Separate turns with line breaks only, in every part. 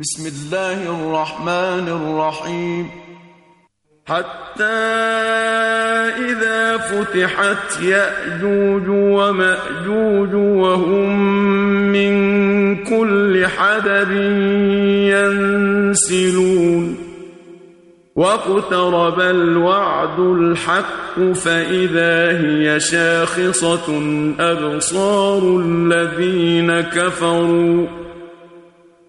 بسم الله الرحمن الرحيم
حتى إذا فتحت يأجوج ومأجوج وهم من كل حدب ينسلون واقترب الوعد الحق فإذا هي شاخصة أبصار الذين كفروا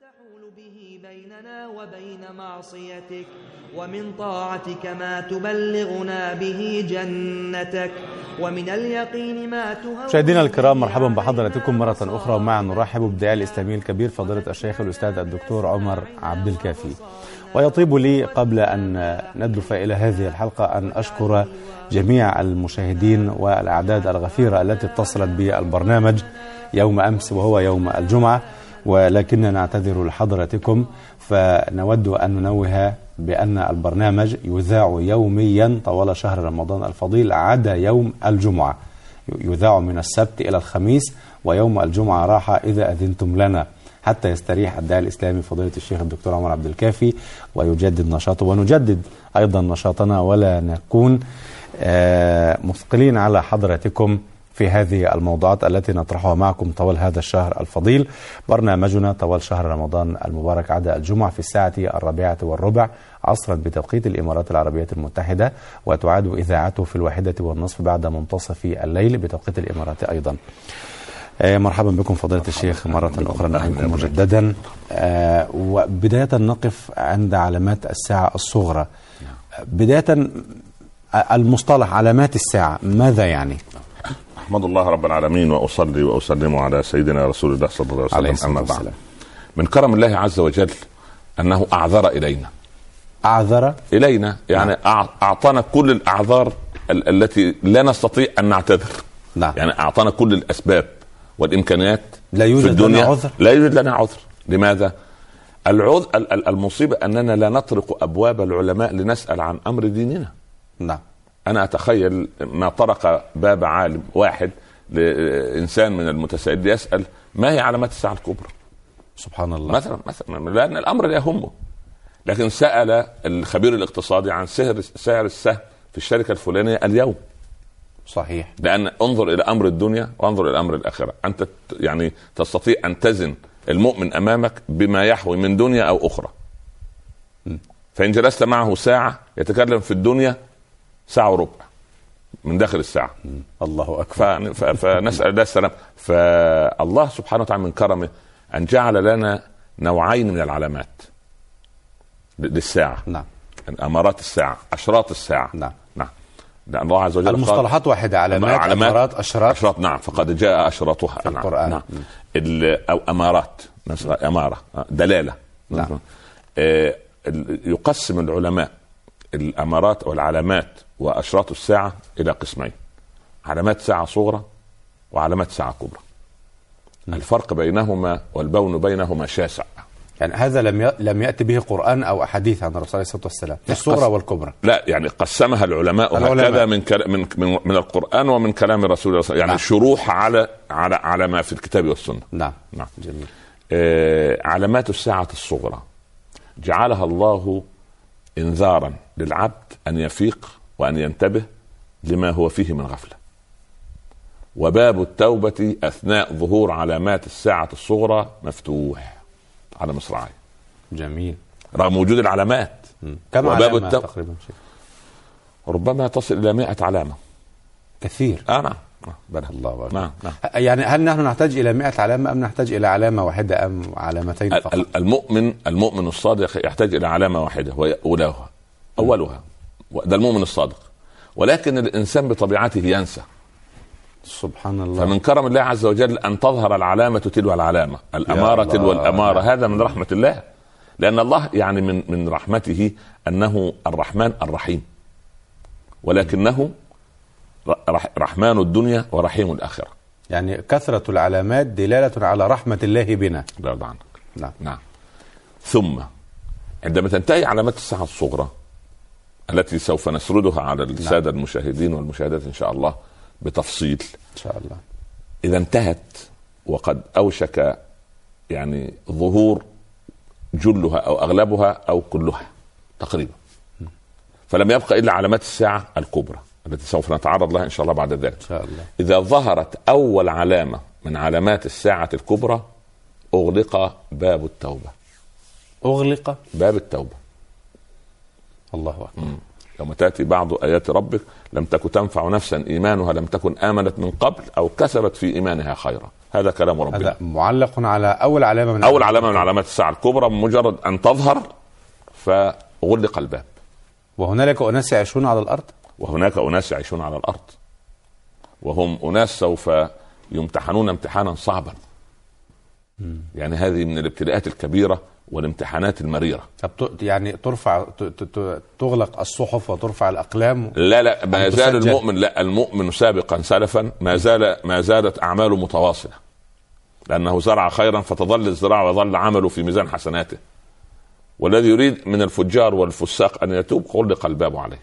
تحول به بيننا وبين معصيتك ومن طاعتك ما تبلغنا به جنتك ومن اليقين ما تهون
مشاهدينا الكرام مرحبا بحضراتكم مرة أخرى ومعا نرحب بداعي الإسلامي الكبير فضيلة الشيخ الأستاذ الدكتور عمر عبد الكافي ويطيب لي قبل أن ندلف إلى هذه الحلقة أن أشكر جميع المشاهدين والأعداد الغفيرة التي اتصلت بالبرنامج يوم أمس وهو يوم الجمعة ولكننا نعتذر لحضراتكم فنود أن ننوه بأن البرنامج يذاع يوميا طوال شهر رمضان الفضيل عدا يوم الجمعة يذاع من السبت إلى الخميس ويوم الجمعة راحة إذا أذنتم لنا حتى يستريح الداعي الإسلامي فضيلة الشيخ الدكتور عمر عبد الكافي ويجدد نشاطه ونجدد أيضا نشاطنا ولا نكون آه، مثقلين على حضراتكم في هذه الموضوعات التي نطرحها معكم طوال هذا الشهر الفضيل برنامجنا طوال شهر رمضان المبارك عدا الجمعة في الساعة الرابعة والربع عصرا بتوقيت الإمارات العربية المتحدة وتعاد إذاعته في الواحدة والنصف بعد منتصف الليل بتوقيت الإمارات أيضا آه، مرحبا بكم فضيلة الشيخ مرة أخرى نحن مجددا آه، وبداية نقف عند علامات الساعة الصغرى بداية آه، المصطلح علامات الساعة ماذا يعني؟
احمد الله رب العالمين واصلي واسلم على سيدنا رسول الله صلى الله
عليه
عليه
الصلاة
وسلم اما
والسلام.
بعد من كرم الله عز وجل انه اعذر الينا
أعذر
الينا يعني
نعم.
أع- اعطانا كل الاعذار ال- التي لا نستطيع ان نعتذر
نعم
يعني اعطانا كل الاسباب والامكانيات
لا يوجد
في
لنا
الدنيا
عذر.
لا يوجد لنا عذر لماذا العذر ال- ال- المصيبه اننا لا نطرق ابواب العلماء لنسال عن امر ديننا
نعم
انا اتخيل ما طرق باب عالم واحد لانسان من المتسائلين يسال ما هي علامات الساعه الكبرى؟
سبحان الله
مثلا مثلا لان الامر لا يهمه لكن سال الخبير الاقتصادي عن سعر سعر السهم في الشركه الفلانيه اليوم
صحيح
لان انظر الى امر الدنيا وانظر الى امر الاخره انت ت- يعني تستطيع ان تزن المؤمن امامك بما يحوي من دنيا او اخرى فان جلست معه ساعه يتكلم في الدنيا ساعه وربع من داخل الساعه
الله أكبر
ف- ف- فنسال الله السلام فالله سبحانه وتعالى من كرمه ان جعل لنا نوعين من العلامات ل- للساعه
نعم
يعني امارات الساعه اشراط الساعه
نعم.
نعم لان الله عز وجل قال-
المصطلحات واحدة علامات
علامات،
أمارات أشراط
اشراط نعم فقد جاء اشراطها في
القرآن.
نعم ال- او امارات نسمع اماره آه، دلاله
نعم.
آه، ال- يقسم العلماء الامارات والعلامات واشراط الساعه الى قسمين علامات ساعه صغرى وعلامات ساعه كبرى الفرق بينهما والبون بينهما شاسع
يعني هذا لم ي... لم يأتي به قرآن أو أحاديث عن الرسول عليه الصلاة والسلام
نعم،
في الصغرى
قصد.
والكبرى
لا يعني قسمها العلماء
العلماء.
هكذا من, كلا- من من من القران ومن كلام الرسول صلى الله عليه وسلم. يعني
نعم.
شروح على على على ما في الكتاب والسنه
نعم
نعم
جميل
آه، علامات الساعة الصغرى جعلها الله انذارا للعبد أن يفيق وأن ينتبه لما هو فيه من غفلة وباب التوبة أثناء ظهور علامات الساعة الصغرى مفتوح على مصراعي
جميل
رغم وجود العلامات
مم. كم
وباب
علامة
التق-
تقريبا شيخ؟
ربما تصل إلى مئة علامة
كثير
آه نعم آه، بلى.
الله أكبر
نعم نعم
ه- يعني هل نحن نحتاج إلى 100 علامة أم نحتاج إلى علامة واحدة أم علامتين فقط؟
ال- المؤمن المؤمن الصادق يحتاج الى علامه واحده وهي اولاها اولها ده المؤمن الصادق ولكن الانسان بطبيعته ينسى
سبحان الله
فمن كرم الله عز وجل ان تظهر العلامه تلو العلامه الاماره
الله.
تلو الاماره هذا من رحمه الله لان الله يعني من من رحمته انه الرحمن الرحيم ولكنه رح- رحمن الدنيا ورحيم الاخره
يعني كثرة العلامات دلالة على رحمة الله بنا
بعد عنك
نعم.
نعم ثم عندما تنتهي علامات الساعة الصغرى التي سوف نسردها على السادة المشاهدين والمشاهدات إن شاء الله بتفصيل
إن شاء الله
إذا انتهت وقد أوشك يعني ظهور جلها أو أغلبها أو كلها تقريبا فلم يبقى إلا علامات الساعة الكبرى التي سوف نتعرض لها إن شاء الله بعد ذلك
إن شاء الله
إذا ظهرت أول علامة من علامات الساعة الكبرى أغلق باب التوبة
أغلق
باب التوبة
الله أكبر
يوم تأتي بعض آيات ربك لم تك تنفع نفسا إيمانها لم تكن آمنت من قبل أو كسبت في إيمانها خيرا هذا كلام ربنا
هذا معلق على أول علامة من
أول علامة من علامات الساعة الكبرى مجرد أن تظهر فغلق الباب
وهنالك أناس يعيشون على الأرض
وهناك أناس يعيشون على الأرض وهم أناس سوف يمتحنون امتحانا صعبا يعني هذه من الابتلاءات الكبيرة والامتحانات المريرة
طب ت- يعني ترفع ت- ت- ت- تغلق الصحف وترفع الأقلام
لا لا ما
أن
زال
تسجل.
المؤمن لا المؤمن سابقا سلفا ما زال ما زالت اعماله متواصله لانه زرع خيرا فتظل الزراعه وظل عمله في ميزان حسناته والذي يريد من الفجار والفساق ان يتوب غلق الباب عليه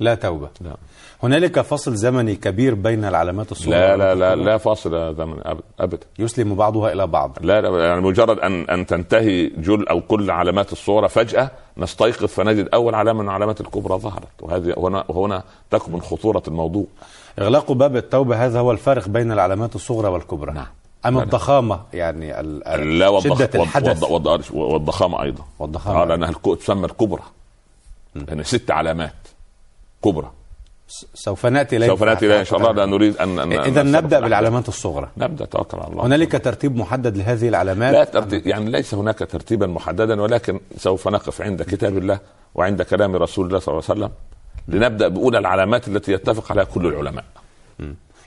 لا توبة
لا
هنالك فصل زمني كبير بين العلامات الصغرى
لا لا لا, لا فاصل يا زمن أب- ابدا
يسلم بعضها إلى بعض
لا لا يعني مجرد ان ان تنتهي جل او كل علامات الصوره فجاه نستيقظ فنجد اول علامه من العلامات الكبرى ظهرت وهذه وهنا وهنا تكمن خطوره الموضوع
إغلاق باب التوبة هذا هو الفرق بين العلامات الصغرى والكبرى
نعم.
أما
نعم.
الضخامة يعني ال- ال-
لا والضخ...
شدة
والض...
الحدث
والض... والض... والضخامه ايضا
والضخامة
اه لانها الكو... تسمى الكبرى يعني ست علامات كبرى
سوف نأتي إليه
سوف ناتي اليها ان شاء الله لا نريد ان, أن...
إذا
أن-
طيب. نبدأ بالعلامات الصغرى
نبدا توكل على الله
هنالك ترتيب محدد لهذه العلامات
لا ترتيب يعني ليس هناك ترتيبا محددا ولكن سوف نقف عند كتاب الله وعند كلام رسول الله صلى الله عليه وسلم لنبدا باولى العلامات التي يتفق عليها كل العلماء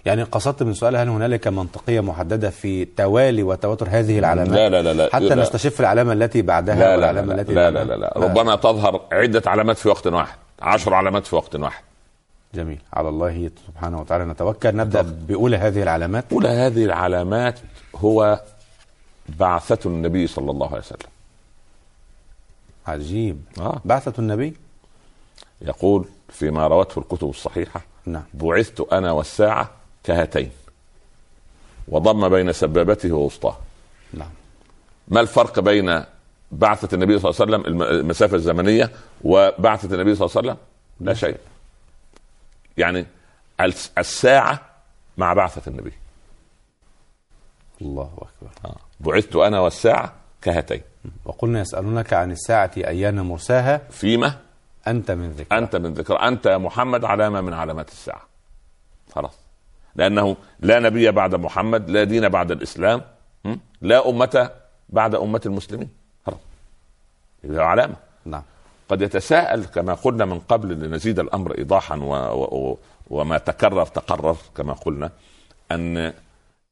يعني قصدت من سؤال هل هنالك منطقية محددة في توالي وتواتر هذه العلامات
لا لا لا لا
حتى
لا.
نستشف العلامة التي بعدها
لا لا لا
والعلامة
لا,
التي
لا, لا,
بعدها.
لا, لا. ربما تظهر عده علامات في وقت واحد عشر علامات في وقت واحد
جميل على الله سبحانه وتعالى نتوكل نبدأ بأولى هذه العلامات
أولى هذه العلامات هو بعثة النبي صلى الله عليه وسلم
عجيب
آه.
بعثة النبي
يقول فيما روته الكتب الصحيحة
نعم
بعثت أنا والساعة كهاتين وضم بين سبابته ووسطاه
نعم
ما الفرق بين بعثة النبي صلى الله عليه وسلم الم- المسافة الزمنية وبعثة النبي صلى الله عليه وسلم لا شيء يعني الس- الساعة مع بعثة النبي
الله أكبر
آه. بعثت أنا والساعة كهاتين
وقلنا يسألونك عن الساعة أيان مرساها
فيما
أنت من ذكر
انت من ذكر انت يا محمد علامه من علامات الساعه خلاص لانه لا نبي بعد محمد لا دين بعد الاسلام م? لا امه بعد امه المسلمين خلاص إذا علامه
نعم
قد يتساءل كما قلنا من قبل لنزيد الامر ايضاحا و... و... وما تكرر تقرر كما قلنا ان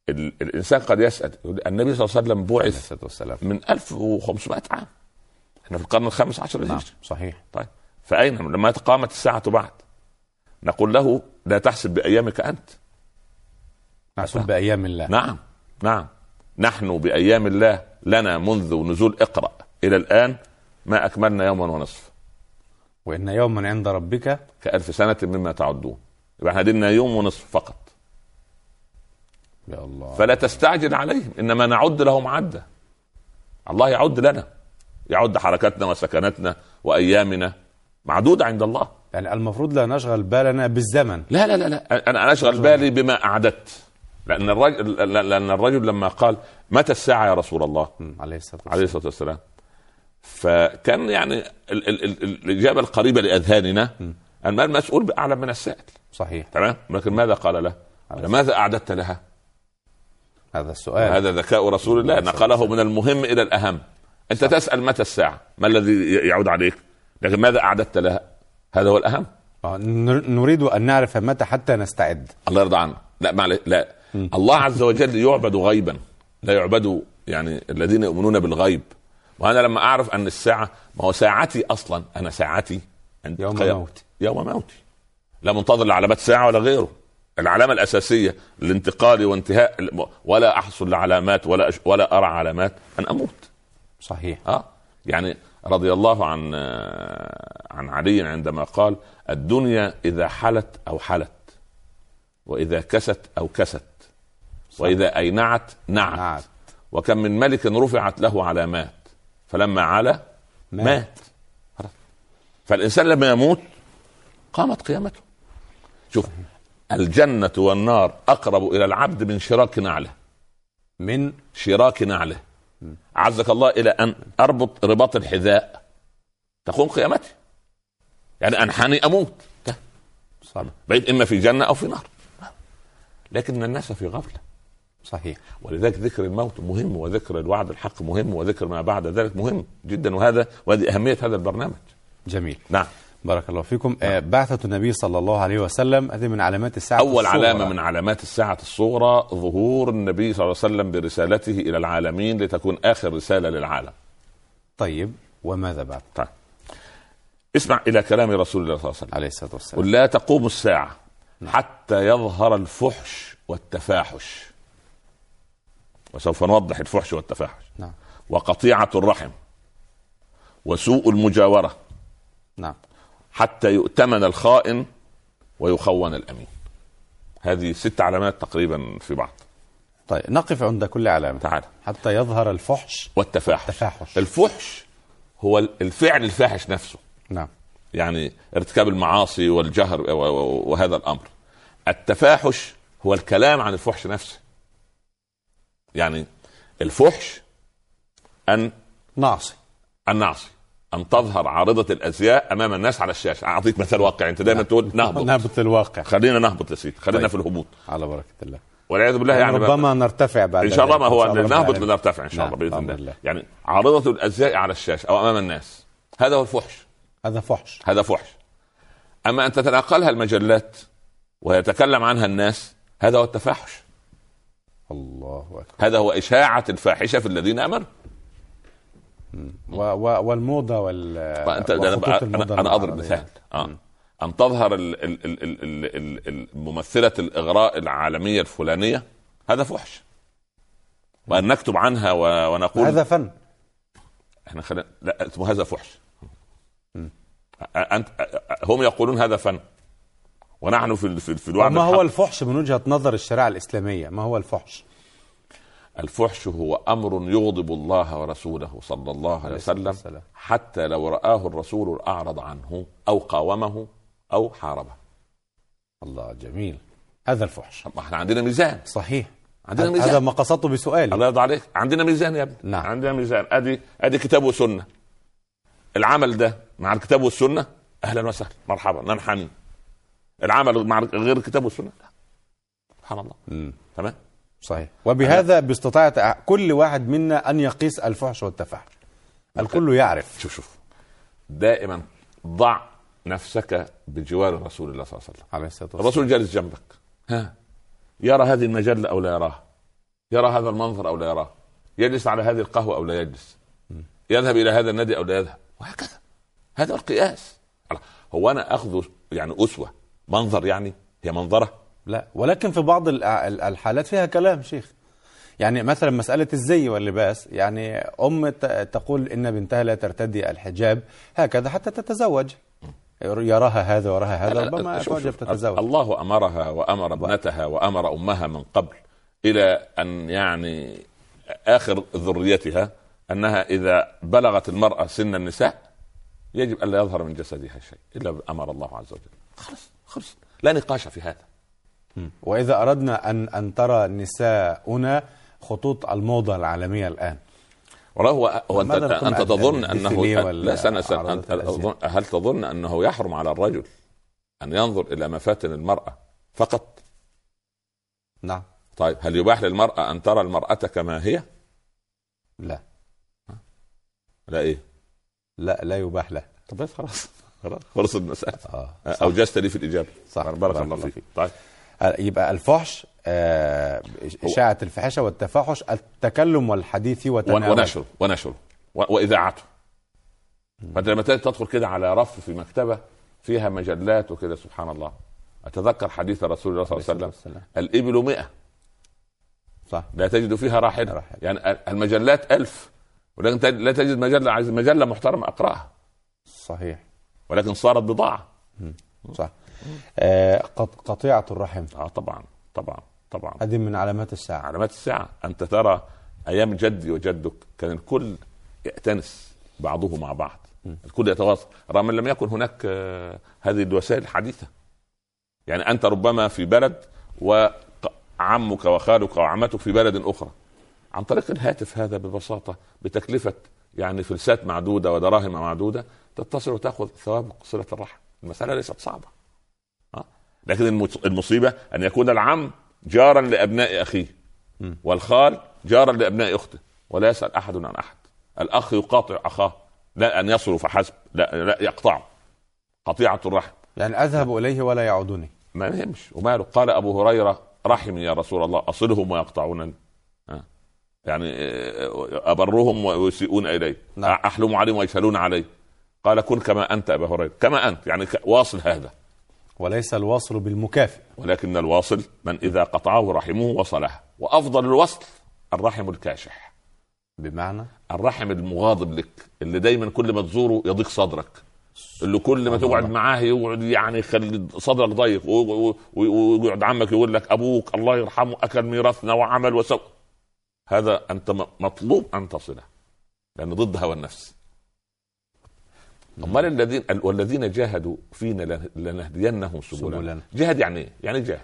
ال... الانسان قد يسال يقول النبي صلى الله عليه وسلم
عليه
بعث
الصلاة والسلام
من 1500 عام احنا في القرن الخامس عشر
نعم
الهجري
صحيح
طيب فأين هم؟ لما قامت الساعة بعد نقول له لا تحسب بأيامك أنت
نحسب بأيام الله
نعم نعم نحن بأيام الله لنا منذ نزول اقرأ إلى الآن ما أكملنا يوما ونصف
وإن يوما عند ربك
كألف سنة مما تعدون يبقى احنا لنا يوم ونصف فقط
يا الله
فلا تستعجل عليهم انما نعد لهم عده الله يعد لنا يعد حركاتنا وسكناتنا وايامنا معدوده عند الله
يعني المفروض لا نشغل بالنا بالزمن
لا لا لا لا انا انا اشغل بالي بما اعددت لان الرجل لان الرجل لما قال متى الساعه يا رسول الله
مم، عليه الصلاة والسلام
عليه الصلاه والسلام فكان يعني ال- ال- ال- الاجابه القريبه لاذهاننا ان ما المسؤول اعلم من السائل
صحيح
تمام لكن ماذا قال له؟ قال ماذا اعددت لها؟
هذا السؤال
هذا ذكاء رسول الله نقله من المهم الى الاهم انت تسال متى الساعه؟ ما الذي يعود عليك؟ لكن ماذا اعددت لها؟ هذا هو الاهم
آه، نر- نريد أن نعرف متى حتى نستعد
الله يرضى عنه لا معلش لا الله عز وجل يعبد غيبا لا يعبد يعني الذين يؤمنون بالغيب وانا لما اعرف ان الساعه ما هو ساعتي اصلا انا ساعتي عند
يوم
قيام-
موتي.
يوم موتي لا منتظر لعلامات ساعه ولا غيره العلامة الأساسية لانتقالي وانتهاء الم- ولا أحصل لعلامات ولا أش... ولا أرى علامات أن أموت
صحيح
آه يعني رضي الله عن آه، عن علي عندما قال الدنيا إذا حلت أو حلت وإذا كست أو كست وإذا أينعت نعت,
نعت.
وكم من ملك رفعت له علامات فلما علا
مات.
مات, خلاص. فالإنسان لما يموت قامت قيامته شوف الجنة والنار أقرب إلى العبد من شراك نعله
من
شراك نعله عزك الله الى ان اربط رباط الحذاء تقوم قيامتي يعني انحني اموت ده.
صح.
بقيت اما في جنه او في نار لكن الناس في غفله
صحيح
ولذلك ذكر الموت مهم وذكر الوعد الحق مهم وذكر ما بعد ذلك مهم جدا وهذا وهذه اهميه هذا البرنامج
جميل
نعم
بارك الله فيكم آه بعثة النبي صلى الله عليه وسلم هذه من علامات الساعة
اول
الصغرى.
علامه من علامات الساعه الصغرى ظهور النبي صلى الله عليه وسلم برسالته الى العالمين لتكون اخر رساله للعالم
طيب وماذا بعد
طيب اسمع الى كلام رسول الله صلى الله عليه وسلم
عليه الصلاة والسلام
قل لا تقوم الساعه حتى يظهر الفحش والتفاحش وسوف نوضح الفحش والتفاحش
نعم
وقطيعه الرحم وسوء المجاوره
نعم
حتى يؤتمن الخائن ويخون الامين هذه ست علامات تقريبا في بعض
طيب نقف عند كل علامة
تعال
حتى يظهر الفحش
والتفاحش
والتفاحش.
الفحش هو الفعل الفاحش نفسه
نعم
يعني ارتكاب المعاصي والجهر و- و- وهذا الامر التفاحش هو الكلام عن الفحش نفسه يعني الفحش ان
ناصي
ان نعصي ان تظهر عارضه الازياء امام الناس على الشاشه اعطيك مثال واقعي انت دايما تقول نهبط
نبت الواقع
خلينا نهبط يا سيدي خلينا
طيب.
في الهبوط
على بركة الله
والعياذ بالله
يعني
يعني
ربما نرتفع بعد
ان شاء الله
ذلك.
ما هو
إن شاء الله رب
نهبط
العالمين.
لنرتفع ان شاء
نعم،
الله باذن
بإذن
الله يعني عارضه الازياء على الشاشه او امام الناس هذا هو الفحش
هذا فحش
هذا فحش اما ان تتناقلها المجلات ويتكلم عنها الناس هذا هو التفاحش
الله أكبر
هذا هو اشاعه الفاحشه في الذين امنوا
و و والموضة وال
انت
آه، وخطوط
انا
الموضة
انا, أنا اضرب
العربية.
مثال آه. ان تظهر ال ال ال ال ال ال ال ممثله الاغراء العالميه الفلانيه هذا فحش وان نكتب عنها و- ونقول
هذا فن
احنا خلينا لا اسمه هذا فحش أ- انت أ- هم يقولون هذا فن ونحن في ال- في, ال- في الوعد
ما هو
الحق.
الفحش من وجهة نظر الشريعة الإسلامية ما هو الفحش
الفحش هو امر يغضب الله ورسوله صلى الله عليه
عليه الصلاة
وسلم
والسلام.
حتى لو رآه الرسول اعرض عنه او قاومه او حاربه
الله جميل هذا الفحش
طب ما احنا عندنا ميزان
صحيح
عندنا
هذا- هذا
ميزان
ما قصدته بسؤالي
الله يرضى عليك عندنا ميزان يا ابني
نعم.
عندنا ميزان ادي ادي كتاب وسنه العمل ده مع الكتاب والسنه اهلا وسهلا مرحبا ننحني العمل مع غير الكتاب والسنه لا سبحان الله
مم.
تمام
صحيح وبهذا باستطاعة كل واحد منا أن يقيس الفحش والتفاحش الكل يعرف
شوف شوف دائما ضع نفسك بجوار رسول الله صلى الله عليه وسلم
عليه الصلاة والسلام
الرسول جالس جنبك ها يرى هذه المجلة أو لا يراها يرى هذا المنظر أو لا يراه يجلس على هذه القهوة أو لا يجلس يذهب إلى هذا النادي أو لا يذهب وهكذا هذا هو القياس الله. هو أنا أخذ يعني أسوة منظر يعني هي منظرة
لا ولكن في بعض الأ- ال- الحالات فيها كلام شيخ يعني مثلا مسألة الزي واللباس يعني أم ت- تقول إن بنتها لا ترتدي الحجاب هكذا حتى تتزوج يراها هذا وراها هذا
لا، لا،
ربما
أه، شوف،
تعجب
شوف.
تتزوج
الله امرها وامر ابنتها وامر امها من قبل الى ان يعني اخر ذريتها انها اذا بلغت المراه سن النساء يجب الا يظهر من جسدها شيء الا بامر الله عز وجل خلص خلص لا نقاش في هذا
وإذا أردنا أن أن ترى نساؤنا خطوط الموضة العالمية الآن
والله هو هو انت
ماذا نقول
انت
عن
تظن
الديفيليه
انه
ولا
لا سنة سنة
عرض
أنت
الأزياء؟
أظن- هل تظن انه يحرم على الرجل ان ينظر الى مفاتن المراه فقط
نعم
طيب هل يباح للمرأة أن ترى المرأة كما هي؟
لا.
لا إيه؟
لا لا يباح له
طب بس خلاص خلاص خلص المسألة
آه.
أوجزت لي في الإجابة
صح
أه، بارك الله فيك طيب
آه، يبقى الفحش آه، إشاعة الفحشة والتفاحش التكلم والحديث
ون-
وتناول
طيب. ونشره ونشره و- وإذاعته فأنت لما تدخل كده على رف في مكتبة فيها مجلات وكده سبحان الله اتذكر حديث رسول الله صلى الله عليه وسلم
والسلام.
الابل 100
صح
لا تجد فيها راحله
راحلة.
يعني المجلات ألف ولكن تج- لا تجد مجله عايز مجله محترمه اقراها
صحيح
ولكن صارت بضاعه
صح آه قط- قطيعة الرحم
اه طبعا طبعا طبعا
هذه من علامات الساعة
علامات الساعه انت ترى ايام جدي وجدك كان الكل يأتنس بعضه مع بعض الكل يتواصل رغم أن لم يكن هناك آه، هذه الوسائل الحديثة يعني أنت ربما في بلد وعمك وخالك وعمتك في بلد أخرى عن طريق الهاتف هذا ببساطة بتكلفة يعني فلسات معدودة ودراهم معدودة تتصل وتأخذ ثواب صلة الرحم المسألة ليست صعبة أه؟ لكن المص- المصيبة أن يكون العم جارا لأبناء أخيه
م.
والخال جارا لأبناء أخته ولا يسأل أحد عن أحد الأخ يقاطع أخاه لا أن يصله فحسب لا, لا يقطعه قطيعة الرحم
يعني أذهب إليه ولا يعودني
ما يهمش وماله قال ابو هريره رحمي يا رسول الله اصلهم ويقطعونني آه. يعني آه، ابرهم ويسيئون الي
نعم.
أ- احلم عليهم ويسالون علي قال كن كما انت ابا هريره كما انت يعني ك- واصل هذا
وليس الواصل بالمكافئ
ولكن الواصل من اذا قطعه رحمه وصلها وافضل الوصل الرحم الكاشح
بمعنى
الرحم المغاضب لك اللي دايما كل ما تزوره يضيق صدرك اللي كل ما تقعد معاه يقعد يعني يخلي صدرك ضيق و- و- و- ويقعد عمك يقول لك ابوك الله يرحمه اكل ميراثنا وعمل وسوى هذا انت م- مطلوب ان تصله لانه ضد هوى النفس امال الذين ال- والذين جاهدوا فينا لن- لنهدينهم
سبلنا.
سبلنا جهد يعني ايه؟ يعني جاهد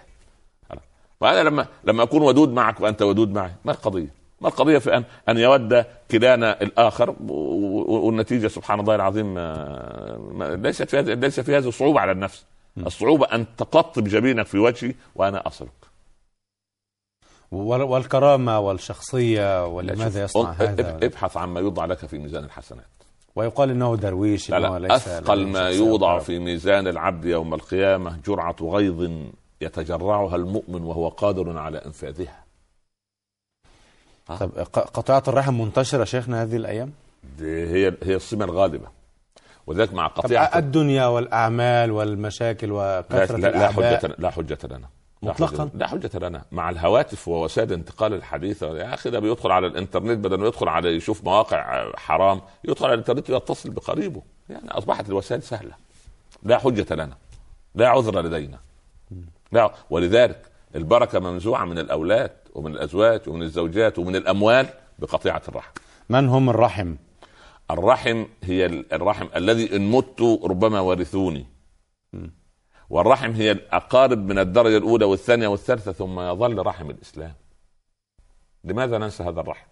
خلاص. وانا لما لما اكون ودود معك وانت ودود معي ما القضيه؟ ما القضيه في ان ان يود كلانا الاخر و- و- والنتيجه سبحان الله العظيم آه، ما- ليست في هذه ليس في هذه صعوبه على النفس الصعوبه ان تقطب جبينك في وجهي وانا اصلك
وال- والكرامة والشخصية
لا،
ولماذا
شوف،
يصنع
اب-
هذا
اب- ابحث عما يوضع لك في ميزان الحسنات
ويقال انه درويش
لا
إنه
لا
ليس
اثقل
له
ما
شخصية
يوضع
وكرامة.
في ميزان العبد يوم القيامه جرعه غيظ يتجرعها المؤمن وهو قادر على انفاذها
طب ق- قطيعة الرحم منتشرة شيخنا هذه الأيام
دي هي هي السمه الغالبه وذلك مع
طب
قطيعه
الدنيا والأعمال والمشاكل
لا,
وكثرة
لا, لا
الأعباء
حجة لا حجة لنا لا حجة-
مطلقا؟
لا حجة لنا مع الهواتف ووسائل انتقال الحديث يا أخي ده بيدخل على الإنترنت بدل ما يدخل على يشوف مواقع آه، حرام يدخل على الإنترنت ويتصل بقريبه يعني أصبحت الوسائل سهلة لا حجة لنا لا عذر لدينا لا ولذلك البركة منزوعة من الأولاد ومن الأزواج ومن الزوجات ومن الأموال بقطيعة الرحم
من هم الرحم
الرحم هي ال- الرحم الذي ان مت ربما ورثوني والرحم هي الاقارب من الدرجه الاولى والثانيه والثالثه ثم يظل رحم الاسلام لماذا ننسى هذا الرحم؟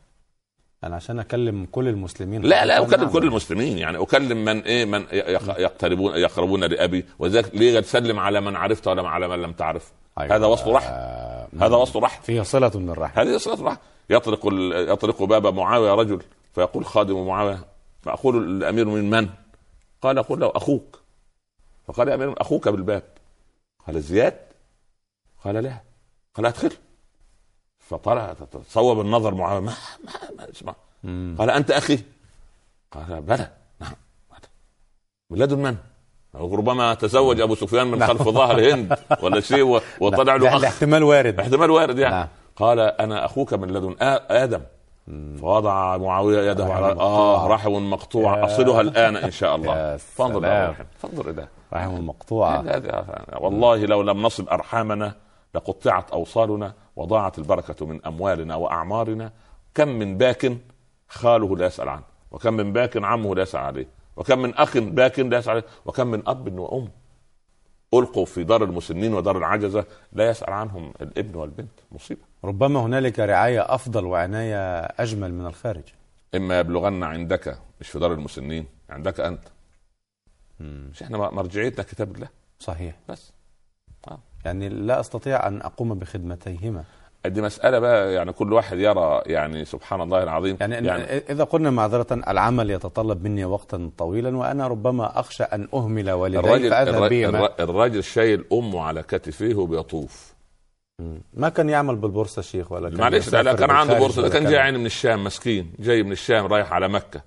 أنا عشان أكلم كل المسلمين
لا لا اكلم
نعم.
كل المسلمين يعني اكلم من ايه من يق- يقتربون يقربون لابي وذلك ليه تسلم على من عرفت ولا على من لم تعرفه
أيوة.
هذا وصف رحم.
آه،
هذا وصف رحم
فيه صلة من الرحم
هذه صلة رحم يطرق ال- يطرق باب معاوية رجل فيقول خادم معاوية فأقول الأمير من من؟ قال أقول له أخوك فقال يا أمير أخوك بالباب قال زياد قال لا قال أدخل فطلع تصوب النظر معاوية ما ما, ما اسمع
مم.
قال أنت أخي قال بلى نعم ولاد من؟ ربما تزوج ابو سفيان من خلف ظهر هند ولا شيء و- وطلع
نعم. لا،
له
لا،
اخ
احتمال وارد
احتمال وارد يعني
نعم.
قال انا اخوك من لدن آ- ادم فوضع معاويه يده
رحم
على
مقطوع.
اه رحم مقطوع
يا-
اصلها الان ان شاء الله
يا
فانظر الى
سلام.
الرحم. فانظر الى
رحم المقطوعة
آه، هذا- هذا- والله لو لم نصل ارحامنا لقطعت اوصالنا وضاعت البركه من اموالنا واعمارنا كم من باك خاله لا يسال عنه وكم من باك عمه لا يسال عليه وكم من اخ باك لا يسال عليه وكم من اب وام القوا في دار المسنين ودار العجزه لا يسال عنهم الابن والبنت مصيبه
ربما هنالك رعاية أفضل وعناية أجمل من الخارج
اما يبلغن عندك مش في دار المسنين عندك انت مش احنا مرجعيتنا كتاب الله
صحيح
بس
يعني لا أستطيع أن أقوم بخدمتيهما
دي مسألة بقى يعني كل واحد يرى يعني سبحان الله العظيم
يعني, يعني إذا قلنا معذرة العمل يتطلب مني وقتا طويلا وأنا ربما أخشى أن أهمل والدي
الراجل
فأذهب
الراجل,
بهما
الراجل, الراجل شايل أمه على كتفيه وبيطوف
ما كان يعمل بالبورصة شيخ ولا كان
معلش
يسافر
لا كان عنده
بالخارج
بورصة ده
ولا
كان جاي يعني من الشام مسكين جاي من الشام رايح على مكة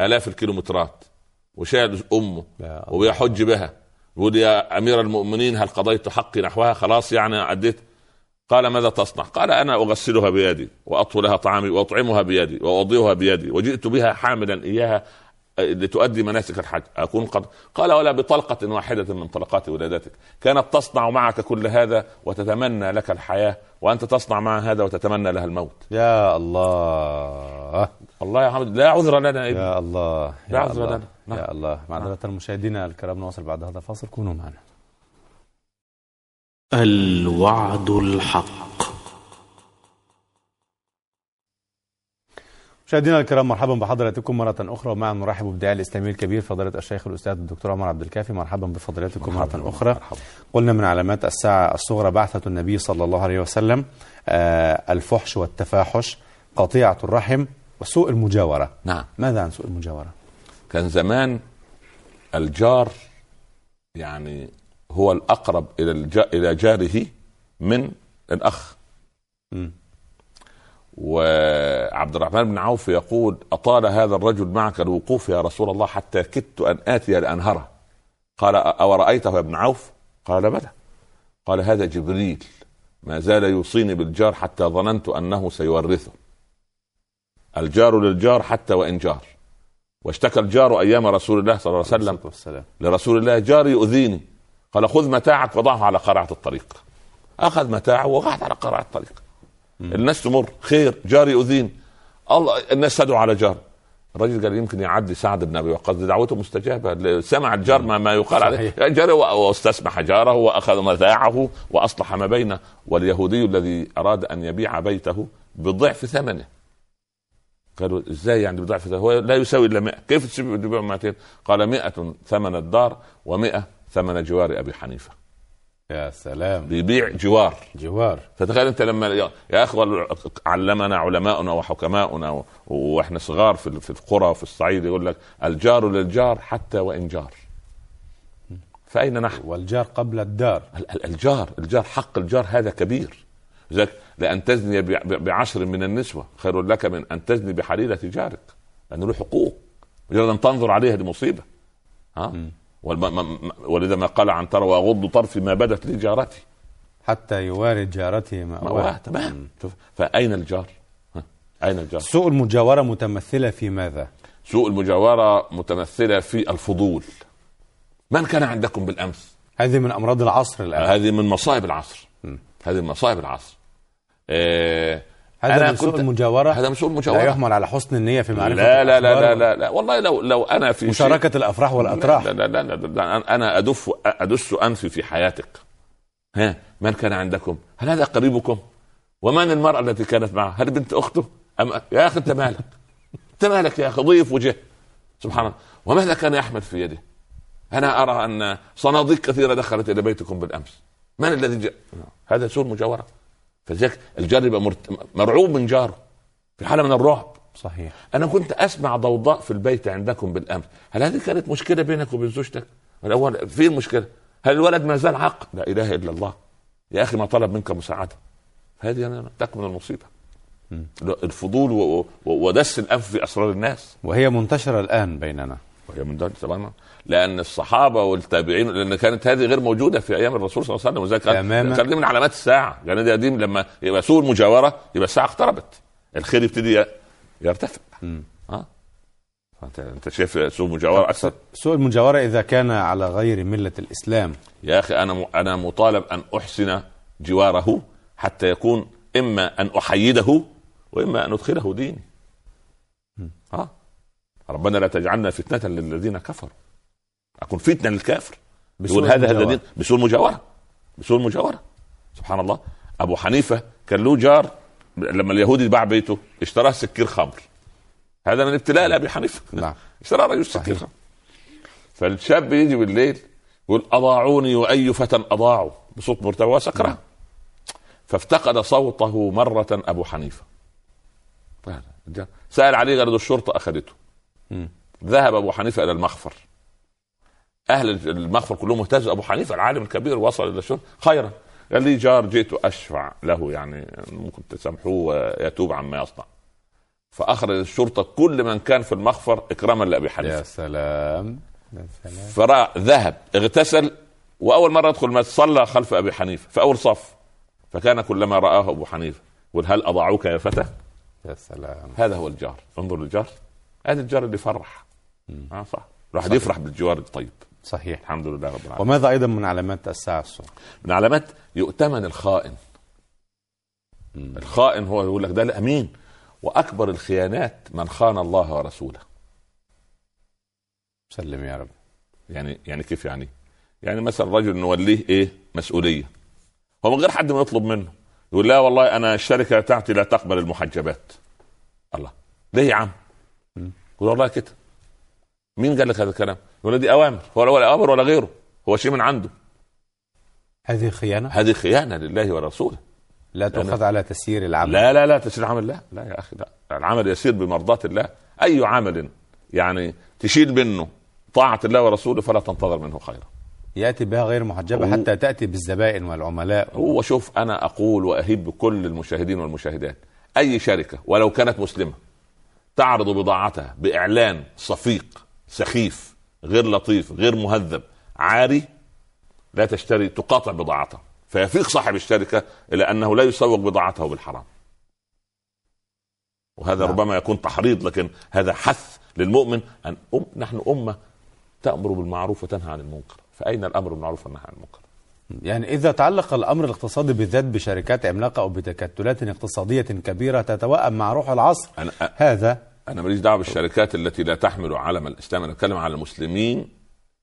آلاف الكيلومترات وشايل أمه
يا الله.
وبيحج بها يقول يا امير المؤمنين هل قضيت حقي نحوها خلاص يعني اديت قال ماذا تصنع؟ قال انا اغسلها بيدي واطهو لها طعامي واطعمها بيدي واوضعها بيدي وجئت بها حاملا اياها لتؤدي مناسك الحج اكون قد قال ولا بطلقه واحده من طلقات ولادتك كانت تصنع معك كل هذا وتتمنى لك الحياه وانت تصنع مع هذا وتتمنى لها الموت
يا الله
الله يا حمد لا عذر لنا يا ابني
يا الله
لا
يا
عذر لنا.
الله
طيب. نعم.
يا الله معذرة مشاهدينا الكرام نواصل بعد هذا الفاصل كونوا معنا
الوعد الحق
مشاهدينا الكرام مرحبا بحضراتكم مرة أخرى ومعا نرحب بالداعي الإسلامي الكبير فضيلة الشيخ الأستاذ الدكتور عمر عبد الكافي مرحبا بفضيلتكم مرة أخرى
مرحبا.
قلنا من علامات الساعة الصغرى بعثة النبي صلى الله عليه وسلم آه، الفحش والتفاحش قطيعة الرحم وسوء المجاورة
نعم
ماذا عن سوء المجاورة؟
كان زمان الجار يعني هو الاقرب الى الج... الى جاره من الاخ
مم.
وعبد الرحمن بن عوف يقول اطال هذا الرجل معك الوقوف يا رسول الله حتى كدت ان اتي لانهره قال اورأيته يا ابن عوف قال بلى قال هذا جبريل ما زال يوصيني بالجار حتى ظننت انه سيورثه الجار للجار حتى وان جار واشتكى الجار ايام رسول الله صلى الله عليه وسلم
والسلام
لرسول الله جاري يؤذيني قال خذ متاعك وضعه على قرعة الطريق أخذ متاعه ووضعه على قرعة الطريق الناس تمر خير جاري يؤذيني الله الناس تدعو على جار الراجل قال يمكن يعدي سعد بن ابي وقاص دعوته مستجابه سمع الجار ما, ما يقال عليه
صحيح.
جاري واستسمح جاره واخذ متاعه واصلح ما بينه واليهودي الذي اراد ان يبيع بيته بضعف ثمنه قالوا ازاي يعني بضعف ثمنه؟ هو لا يساوي الا 100 كيف تسيب- تبيع 200 قال 100 ثمن الدار و100 ثمن جوار ابي حنيفه
يا سلام
بيبيع جوار
جوار
فتخيل انت لما يا- يا اخي وال- علمنا علماؤنا وحكماؤنا و- واحنا صغار في ال- في القرى وفي الصعيد يقول لك الجار للجار حتى وان جار فاين نحن؟
والجار قبل الدار
ال- ال- الجار الجار حق الجار هذا كبير لذلك لان تزني ب- ب- بعشر من النسوه خير لك من ان تزني بحليله جارك لانه له حقوق مجرد ان تنظر عليها دي مصيبه ها والم- م- م- ولذا ما قال عنتر واغض طرفي ما بدت لي جارتي
حتى يواري جارته
مأواه
مأواه
تمام شوف فاين الجار؟ ها؟ اين الجار؟
سوء المجاورة متمثلة في ماذا؟
سوء المجاوره متمثله في الفضول من كان عندكم بالامس؟
هذه من أمراض العصر الآن
يعني هذه من مصائب العصر هذه من مصائب العصر آه، أنا
هذا من سوء
كنت-
المجاورة
هذا من سوء
لا
المجاوره
يحمل على حسن النية في معرفة
لا لا لا
الأخبار
لا لا, لا والله لو لو انا في شيء-
مشاركة الأفراح والأتراح
لا لا لا, لا, لا انا ادف ادس انفي في حياتك ها من كان عندكم؟ هل هذا قريبكم؟ ومن المرأة التي كانت معه؟ هل بنت أخته؟ أم يا أخي أنت مالك؟ أنت مالك يا أخي ضيف وجه سبحان الله وماذا كان يحمل في يده؟ أنا أرى أن صناديق كثيرة دخلت إلى بيتكم بالأمس من الذي جاء؟ هذا سوء المجاورة فلذلك الجار يبقى مرت- مرعوب من جاره في حالة من الرعب
صحيح
انا كنت اسمع ضوضاء في البيت عندكم بالامس هل هذه كانت مشكله بينك وبين زوجتك الاول فين المشكله هل الولد ما زال عاق لا اله الا الله يا اخي ما طلب منك مساعده هذه انا تكمن المصيبه الفضول و... و... ودس الانف في اسرار الناس
وهي منتشرة الآن بيننا
وهي من ذلك تماما لان الصحابه والتابعين لان كانت هذه غير موجوده في ايام الرسول صلى الله عليه وسلم وذلك كان-
تماماً.
كان دي من علامات الساعه يعني دي دي لما يبقى سوء المجاوره يبقى الساعه اقتربت الخير يبتدي يرتفع ها انت انت شايف سوء المجاوره اكثر
سوء المجاورة إذا كان على غير ملة الإسلام
يا اخي انا م- انا مطالب ان احسن جواره حتى يكون اما ان احيده واما ان ادخله ديني ها ربنا لا تجعلنا فتنه للذين كفروا اكون فتنه للكافر
بسوء
يقول هذا هذا
المجاورة.
دين بسوء المجاوره بسوء المجاوره سبحان الله ابو حنيفه كان له جار لما اليهودي باع بيته اشتراه سكير خمر هذا من ابتلاء لابي حنيفه
نعم.
اشترى رجل سكير خمر فالشاب يجي بالليل يقول اضاعوني واي فتى اضاعوا بصوت مرتفع وسكران فافتقد صوته مره ابو حنيفه طيب، سال عليه قال له الشرطه اخذته
مم.
ذهب ابو حنيفه الى المخفر اهل المخفر كلهم اهتزوا ابو حنيفه العالم الكبير وصل الى الشرطه خيرا قال لي جار جئت اشفع له يعني ممكن تسامحوه ويتوب عما يصنع فاخرج الشرطه كل من كان في المخفر اكراما لابي حنيفه
سلام يا سلام.
فراى ذهب اغتسل واول مره يدخل المسجد صلى خلف ابي حنيفه في اول صف فكان كلما راه ابو حنيفه يقول هل اضاعوك يا فتى؟
يا سلام
هذا هو الجار انظر للجار هذا الجار اللي يفرح اه صح الواحد يفرح بالجوار الطيب
صحيح
الحمد لله رب العالمين
وماذا ايضا من علامات الساعه الصغرى
من علامات يؤتمن الخائن الخائن هو يقول لك ده الامين واكبر الخيانات من خان الله ورسوله
سلم يا رب
يعني يعني كيف يعني؟ يعني مثلا رجل نوليه ايه؟ مسؤوليه. هو من غير حد ما يطلب منه يقول لا والله انا الشركه بتاعتي لا تقبل المحجبات. الله ليه يا عم؟ يقول والله كده. مين قال لك هذا الكلام؟ يقول له دي اوامر هو لا ولا اوامر ولا غيره هو شيء من عنده
هذه خيانه
هذه خيانه لله ورسوله.
لا تؤخذ على تسيير العمل
لا لا لا تسير العمل لا لا يا اخي لا العمل يسير بمرضاه الله اي عمل يعني تشيل منه طاعه الله ورسوله فلا تنتظر منه خيرا.
ياتي بها غير محجبه
هو-
حتى تاتي بالزبائن والعملاء
هو شوف انا اقول واهب بكل المشاهدين والمشاهدات اي شركه ولو كانت مسلمه تعرض بضاعتها باعلان صفيق سخيف غير لطيف غير مهذب عاري لا تشتري تقاطع بضاعتها فيفيق صاحب الشركه الى انه لا يسوق بضاعته بالحرام وهذا
نعم.
ربما يكون تحريض لكن هذا حث للمؤمن ان أم نحن امه تامر بالمعروف وتنهى عن المنكر فاين الامر بالمعروف والنهي عن المنكر
يعني إذا تعلق الأمر الاقتصادي بالذات بشركات عملاقة أو بتكتلات اقتصادية كبيرة تتوأم مع روح العصر
أنا-
هذا
انا ماليش دعوه بالشركات التي لا تحمل علم الاسلام انا بتكلم على المسلمين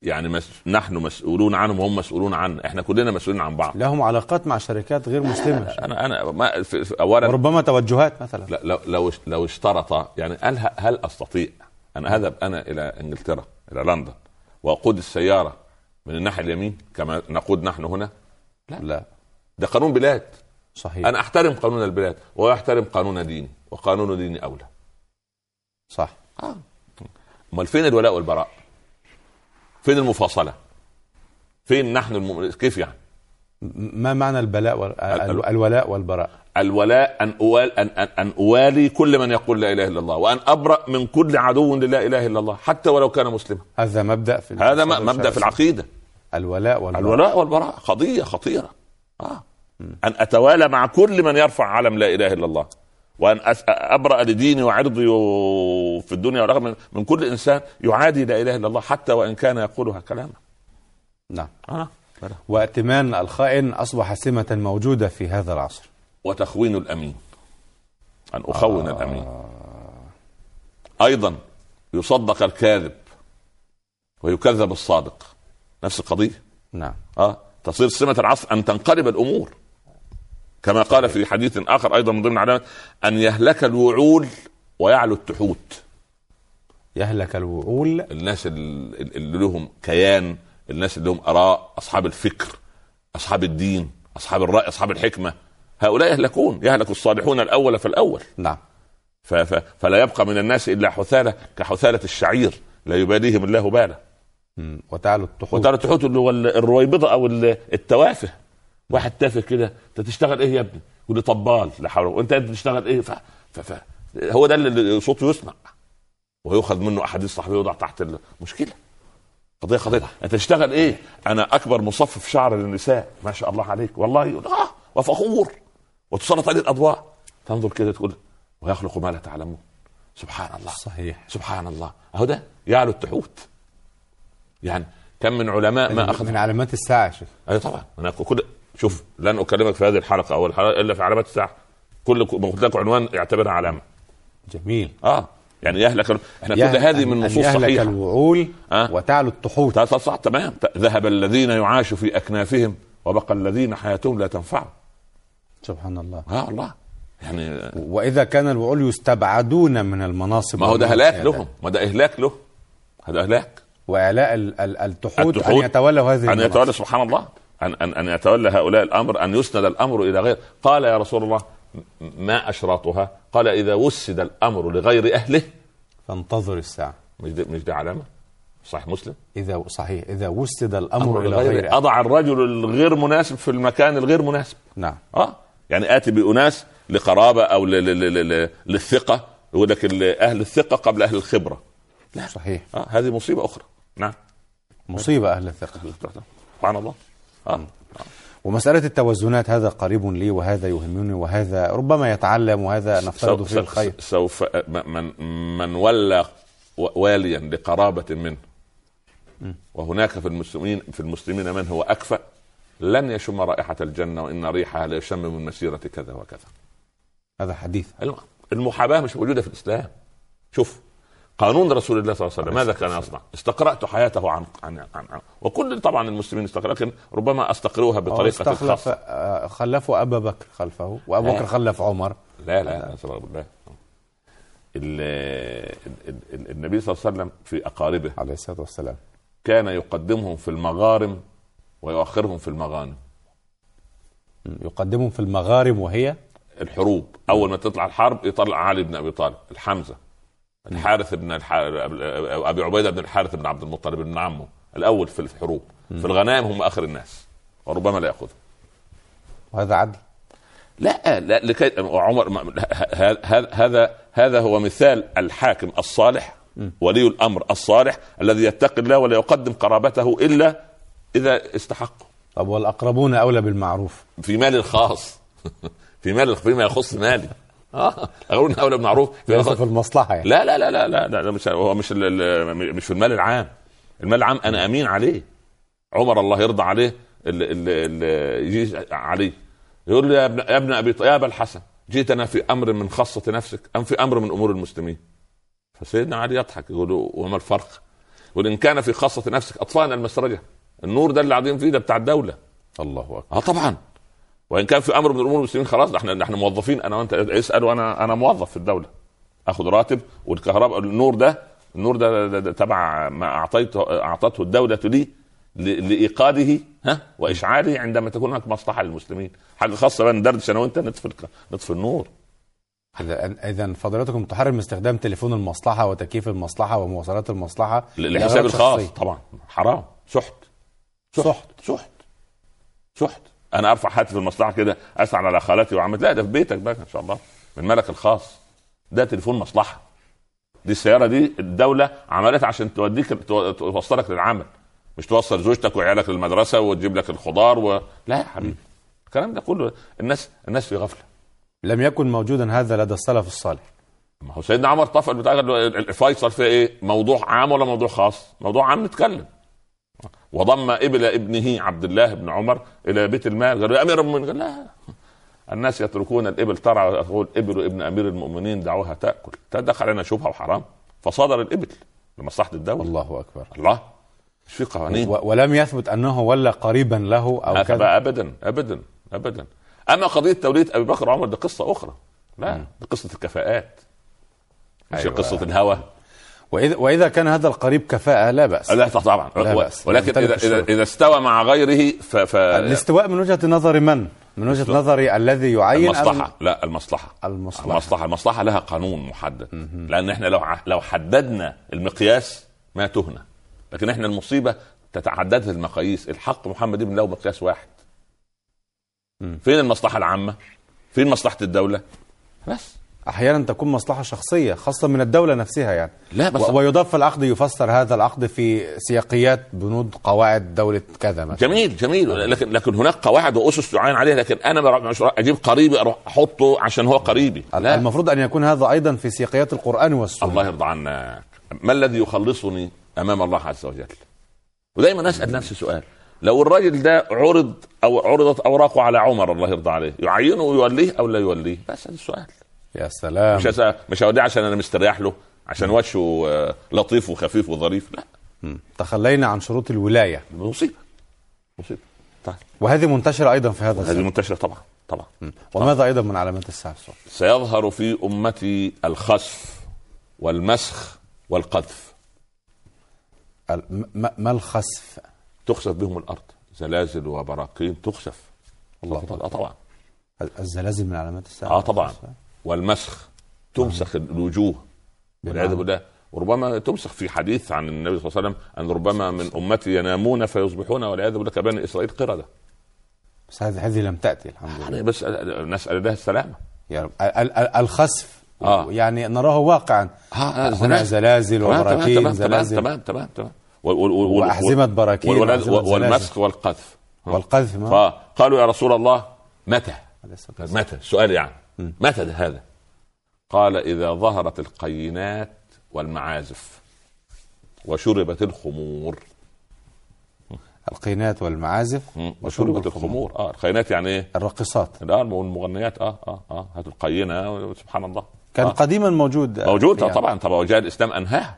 يعني مس... نحن مسؤولون عنهم وهم مسؤولون عنا احنا كلنا مسؤولين عن بعض
لهم علاقات مع شركات غير مسلمة
انا انا ما في... في اولا
وربما توجهات مثلا
لا- لو لو لو اشترط يعني هل هل استطيع ان اذهب انا الى انجلترا الى لندن واقود السياره من الناحيه اليمين كما نقود نحن هنا
لا إيه.
ده قانون بلاد
صحيح
انا احترم قانون البلاد ويحترم قانون ديني وقانون ديني اولى
صح
امال آه. فين الولاء والبراء؟ فين المفاصله؟ فين نحن الم... كيف يعني؟
م- ما معنى البلاء وال... ال-
ال-
الولاء والبراء
الولاء ان اوال ان ان, أن اوالي كل من يقول لا اله الا الله وان ابرا من كل عدو للا اله الا الله حتى ولو كان مسلما
هذا مبدأ في
هذا م- مبدا في العقيده
الولاء والبراء
الولاء والبراء قضيه خطيره اه ان اتوالى مع كل من يرفع علم لا اله الا الله وان أس- ابرا لديني وعرضي و- في الدنيا والاخره من, من كل انسان يعادي لا اله الا الله حتى وان كان يقولها كلاما
نعم
آه.
وائتمان الخائن أصبح سمة موجودة في هذا العصر
وتخوين الامين ان اخون الامين ايضا يصدق الكاذب ويكذب الصادق نفس القضيه
نعم
اه تصير سمه العصر ان تنقلب الامور كما قال في حديث اخر ايضا من ضمن علامات ان يهلك الوعول ويعلو التحوت
يهلك الوعول
الناس ال- ال- اللي لهم كيان الناس اللي لهم اراء اصحاب الفكر اصحاب الدين اصحاب الراي اصحاب الحكمه هؤلاء يهلكون يهلك الصالحون الاول فالاول
نعم
ف- ف- فلا يبقى من الناس الا حثاله كحثاله الشعير لا يباليهم الله باله
م. وتعلو الطحوت
وترى تحوت اللي هو ال- الرويبضه او ال- التوافه واحد تافه كده انت تشتغل ايه يا ابني؟ يقول لي طبال لا حول ولا- وانت انت بتشتغل ايه؟ ف... ف... ف... هو ده اللي صوته يسمع ويؤخذ منه احاديث صحفيه ويوضع تحت ال- مشكله قضيه قضيه انت تشتغل ايه؟ انا اكبر مصفف شعر للنساء ما شاء الله عليك والله يقول اه وفخور وتسلط عليه الاضواء تنظر كده تقول ويخلق ما لا تعلمون سبحان الله
صحيح
سبحان الله اهو ده يعلو التحوت يعني كم من علماء ما أيوة اخذ
من علامات الساعة يا شيخ
اي طبعا انا كل شوف لن اكلمك في هذه الحلقه او الحلقه الا في علامات الساعه كل ما قلت لك عنوان اعتبرها علامه
جميل
اه يعني يهلك ال- احنا كل
يهل-
هذه من
أن- أن
نصوص
يهلك
صحيحه
الوعول
أه؟
وتعلو الطحوت
تا- تا- صح تمام تا- ذهب الذين يعاش في اكنافهم وبقى الذين حياتهم لا تنفع
سبحان الله
اه الله يعني
وإذا كان الوعول يستبعدون من المناصب
ما هو ده
والمنصب
هلاك
يعني.
لهم ما ده اهلاك له هذا اهلاك
وإعلاء ال- ال- الطحوت أن
الدخول،
يتولوا هذه
ان يتولى
المناصب
سبحان الله ان ان ان يتولى هؤلاء الامر ان يسند الامر الى غير قال يا رسول الله م- ما اشراطها؟ قال اذا وسد الامر لغير اهله
فانتظر الساعة
مش دي مش دي علامه صحيح مسلم
إذا صحيح إذا وسد الأمر
امر
إلى
لغير
غير
اضع الرجل الغير مناسب في المكان الغير مناسب
نعم
اه يعني اتي باناس لقرابه او ل- ل- ل- ل- للثقه يقول لك ال- اهل الثقه قبل اهل الخبره
صحيح
آه، اه هذه مصيبه اخرى نعم
مصيبه اهل الثقه
سبحان الله آه.
ومساله التوازنات هذا قريب لي وهذا يهمني وهذا ربما يتعلم وهذا نفترض
سو-
فيه الخير
س- سوف م- من من ولى و- واليا لقرابه منه وهناك في المسلمين في المسلمين من هو اكفأ لن يشم رائحه الجنه وان ريحها لا يشم من مسيره كذا وكذا
هذا حديث
الم- المحاباه مش موجوده في الاسلام شوف قانون رسول الله صلى الله عليه وسلم ماذا كان يصنع؟ استقرات حياته عن عن, عن, عن وكل طبعا المسلمين استقرأ لكن ربما استقروها
أو
بطريقه
استخلف
خاصه
آه، خلفوا ابا بكر خلفه وابو
آه.
بكر خلف عمر
لا لا نسأل الله بالله ال- ال- ال- النبي صلى الله عليه وسلم في اقاربه
عليه الصلاه والسلام
كان يقدمهم في المغارم ويؤخرهم في المغانم
م. يقدمهم في المغارم وهي
الحروب اول ما تطلع الحرب يطلع علي بن ابي طالب الحمزه الحارث بن الح... ابي عبيده بن الحارث بن عبد المطلب بن عمه الاول في الحروب في الغنائم هم اخر الناس وربما لا ياخذهم
وهذا عدل
لا لا لكي عمر ما- ه- ه- ه- هذا هذا هو مثال الحاكم الصالح ولي الامر الصالح الذي يتقي الله ولا يقدم قرابته الا اذا استحقه
طب والاقربون اولى بالمعروف
في مالي الخاص في مال فيما يخص مالي اه اقول إن اولى بالمعروف فيما
ليس
يخص-
في المصلحه يعني
لا لا لا لا لا, لا, لا مش هو مش ال- ال- مش في المال العام المال العام انا امين عليه عمر الله يرضى عليه ال ال ال يجي علي يقول له يا ابن يا ابن ابي ط- يا ابا الحسن جئتنا في امر من خاصه نفسك ام في امر من امور المسلمين فسيدنا علي يضحك يقول له وما الفرق يقول ان كان في خاصه نفسك اطفانا المسرجه النور ده اللي قاعدين فيه ده بتاع الدوله
الله اكبر
اه طبعا وان كان في امر من الامور المسلمين خلاص ده احنا ده احنا موظفين انا وانت اسال وانا انا موظف في الدوله اخذ راتب والكهرباء النور ده النور ده, ده, ده تبع ما اعطيته اعطته الدوله لي ل- لايقاده ها واشعاله عندما تكون هناك مصلحه للمسلمين حاجه خاصه بقى ندردش انا وانت نطفي الك- نطفي النور
اذا إذاً فضيلتكم تحرم استخدام تليفون المصلحه وتكييف المصلحه ومواصلات المصلحه
ل-
لأغراض
للحساب الخاص
شخصية.
طبعا حرام سحت
سحت
سحت سحت انا ارفع هاتف المصلحه كده اسعل على خالتي وعمتي لا ده في بيتك بقى ان شاء الله من مالك الخاص ده تليفون مصلحه دي السياره دي الدوله عملتها عشان توديك تو- توصلك للعمل مش توصل زوجتك وعيالك للمدرسه وتجيب لك الخضار و... لا يا حبيبي الكلام ده كله الناس الناس في غفله
لم يكن موجودا هذا لدى السلف الصالح
ما هو سيدنا عمر طفل بتاع ال- ال- الفيصل فيها ايه؟ موضوع عام ولا موضوع خاص؟ موضوع عام نتكلم. وضم ابل ابنه عبد الله بن عمر الى بيت المال قال له يا امير المؤمنين قال لا الناس يتركون الابل ترعى يقول ابل ابن امير المؤمنين دعوها تاكل تدخل لنا شبهه وحرام فصدر الابل لمصلحه الدوله
الله اكبر
الله مش في قوانين
و- ولم يثبت انه ولا قريبا له او
يعني هذا
كذا
بقى ابدا ابدا ابدا اما قضيه توليه ابي بكر وعمر دي قصه اخرى لا دي قصه الكفاءات مش
أيوة.
قصه الهوى
واذا واذا كان هذا القريب كفاءه لا باس
لا طبعا
لا
و-
بأس. يعني
ولكن
يمتلك
اذا اذا
الشعور.
اذا استوى مع غيره ف, ف...
الاستواء من وجهه نظر من؟ من وجهه نظري الذي يعين أم-
المصلحه لا المصلحه
المصلحة.
المصلحه المصلحه لها قانون محدد لان احنا لو ع- لو حددنا المقياس ما تهنا لكن احنا المصيبه تتعددها المقاييس الحق محمد بن له مقياس واحد
مم.
فين المصلحه العامه فين مصلحه الدوله بس
احيانا تكون مصلحه شخصيه خاصه من الدوله نفسها يعني
لا بس
و- ويضاف العقد يفسر هذا العقد في سياقيات بنود قواعد دوله كذا مثلا
جميل
آه.
جميل لكن لكن هناك قواعد واسس تعين عليها لكن انا برا- مش رأ- اجيب قريبي اروح احطه عشان هو قريبي لا.
المفروض ان يكون هذا ايضا في سياقيات القران والسنه
الله يرضى عنك ما الذي يخلصني امام الله عز وجل ودايما اسال نفسي سؤال لو الراجل ده عرض او عرضت اوراقه على عمر الله يرضى عليه يعينه ويوليه او لا يوليه بس هذا السؤال
يا سلام
مش هسأل- مش هوديه عشان انا مستريح له عشان وجهه آه، لطيف وخفيف وظريف لا
مم. تخلينا عن شروط الولايه
مصيبه مصيبه طيب
وهذه منتشره ايضا في هذا
هذه
الزمن
منتشره طبعا طبعا
وماذا ايضا من علامات الساعه الصغرى؟
سيظهر في امتي الخسف والمسخ والقذف
ال- م- م- ما الخسف؟
تخسف بهم الارض زلازل وبراكين تخسف
الله
آه، طبعا
ال- الزلازل من علامات الساعه
اه طبعا
نعم.
والمسخ تمسخ الوجوه
نعم.
والعياذ بالله وربما تمسخ في حديث عن النبي صلى الله عليه وسلم ان ربما من امتي ينامون فيصبحون والعياذ بالله كبني اسرائيل قرده
بس هذه هذه لم تاتي الحمد لله
يعني بس نسال الله السلامه
يا رب ال- ال- ال- الخسف
آه.
يعني نراه واقعا
ها
هنا زلازل
تمام تمام
وبراكين
تمام تمام
زلازل
تمام تمام تمام وال- وال- وال-
وأحزمة براكين
وال-
وأحزمة زلازل.
والمسخ والقذف
والقذف ما
فقالوا يا رسول الله متى
عليه الصلاة والسلام.
متى سؤال يعني
مم.
متى ده هذا قال إذا ظهرت القينات والمعازف وشربت الخمور
القينات والمعازف
مم. وشربت الخمور اه القينات يعني ايه
الراقصات
الان والمغنيات اه اه اه هاتوا القينه سبحان الله
كان
آه.
قديما موجود
موجود
يعني.
طبعا طبعا وجاء الاسلام انهاها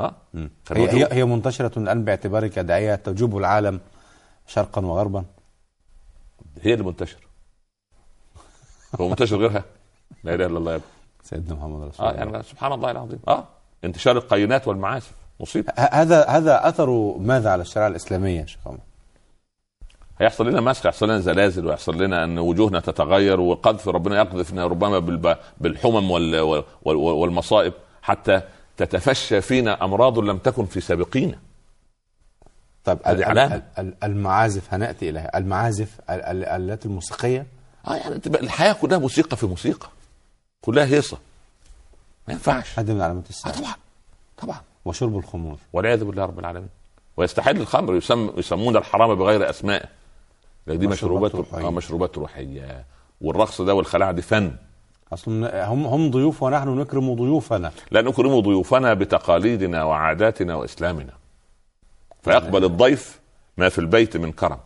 ها
مم.
كان
هي, هي
موجود.
هي منتشرة الآن باعتبارك داعية تجوب العالم شرقا وغربا
هي اللي منتشر هو منتشر غيرها لا اله الا الله يا ابني.
سيدنا محمد رسول
اه
الله
يعني سبحان الله العظيم اه انتشار القينات والمعازف مصيبه
ه- هذا هذا أثر ماذا على الشريعة الإسلامية يا شيخ عمر؟
هيحصل لنا مسخ هيحصل لنا زلازل ويحصل لنا ان وجوهنا تتغير وقذف ربنا يقذفنا ربما بالب... بالحمم وال... وال... وال... والمصائب حتى تتفشى فينا امراض لم تكن في سابقينا
طب
هذه علامة.
المعازف هنأتي إليها المعازف ال- ال- الآلات الموسيقية
اه يعني انت بقى الحياه كلها موسيقى في موسيقى كلها هيصه ما ينفعش
هذه من علامات
آه
الساعة
طبعا طبعا
وشرب الخمور
والعياذ بالله رب العالمين ويستحل الخمر يسم يسمون الحرام بغير اسماء لكن دي مشروبات
مشروبات روحية.
روحية. آه مشروبات روحيه والرقص ده والخلاعه دي فن
أصلا هم هم ضيوف ونحن نكرم ضيوفنا
لا نكرم ضيوفنا بتقاليدنا وعاداتنا واسلامنا فيقبل الضيف ما في البيت من كرم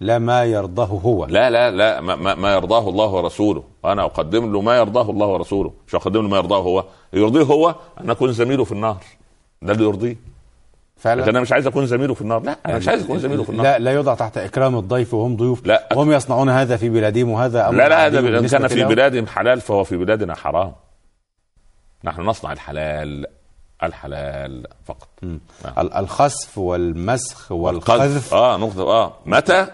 لا ما يرضاه هو
لا لا لا ما, ما, ما يرضاه الله ورسوله انا اقدم له ما يرضاه الله ورسوله مش اقدم له ما يرضاه هو يرضيه هو ان اكون زميله في النار ده اللي يرضيه لكن انا مش عايز اكون زميله في النار لا انا مش عايز اكون زميله في النار
لا لا يضع تحت اكرام الضيف وهم ضيوف
لا.
وهم يصنعون هذا في بلادهم وهذا امر
لا لا
عادي
هذا ان
بالنسبة
كان في
لهم.
بلادهم حلال فهو في بلادنا حرام نحن نصنع الحلال الحلال فقط
مم. ال- الخسف والمسخ والقذف
قذف اه نقطه اه متى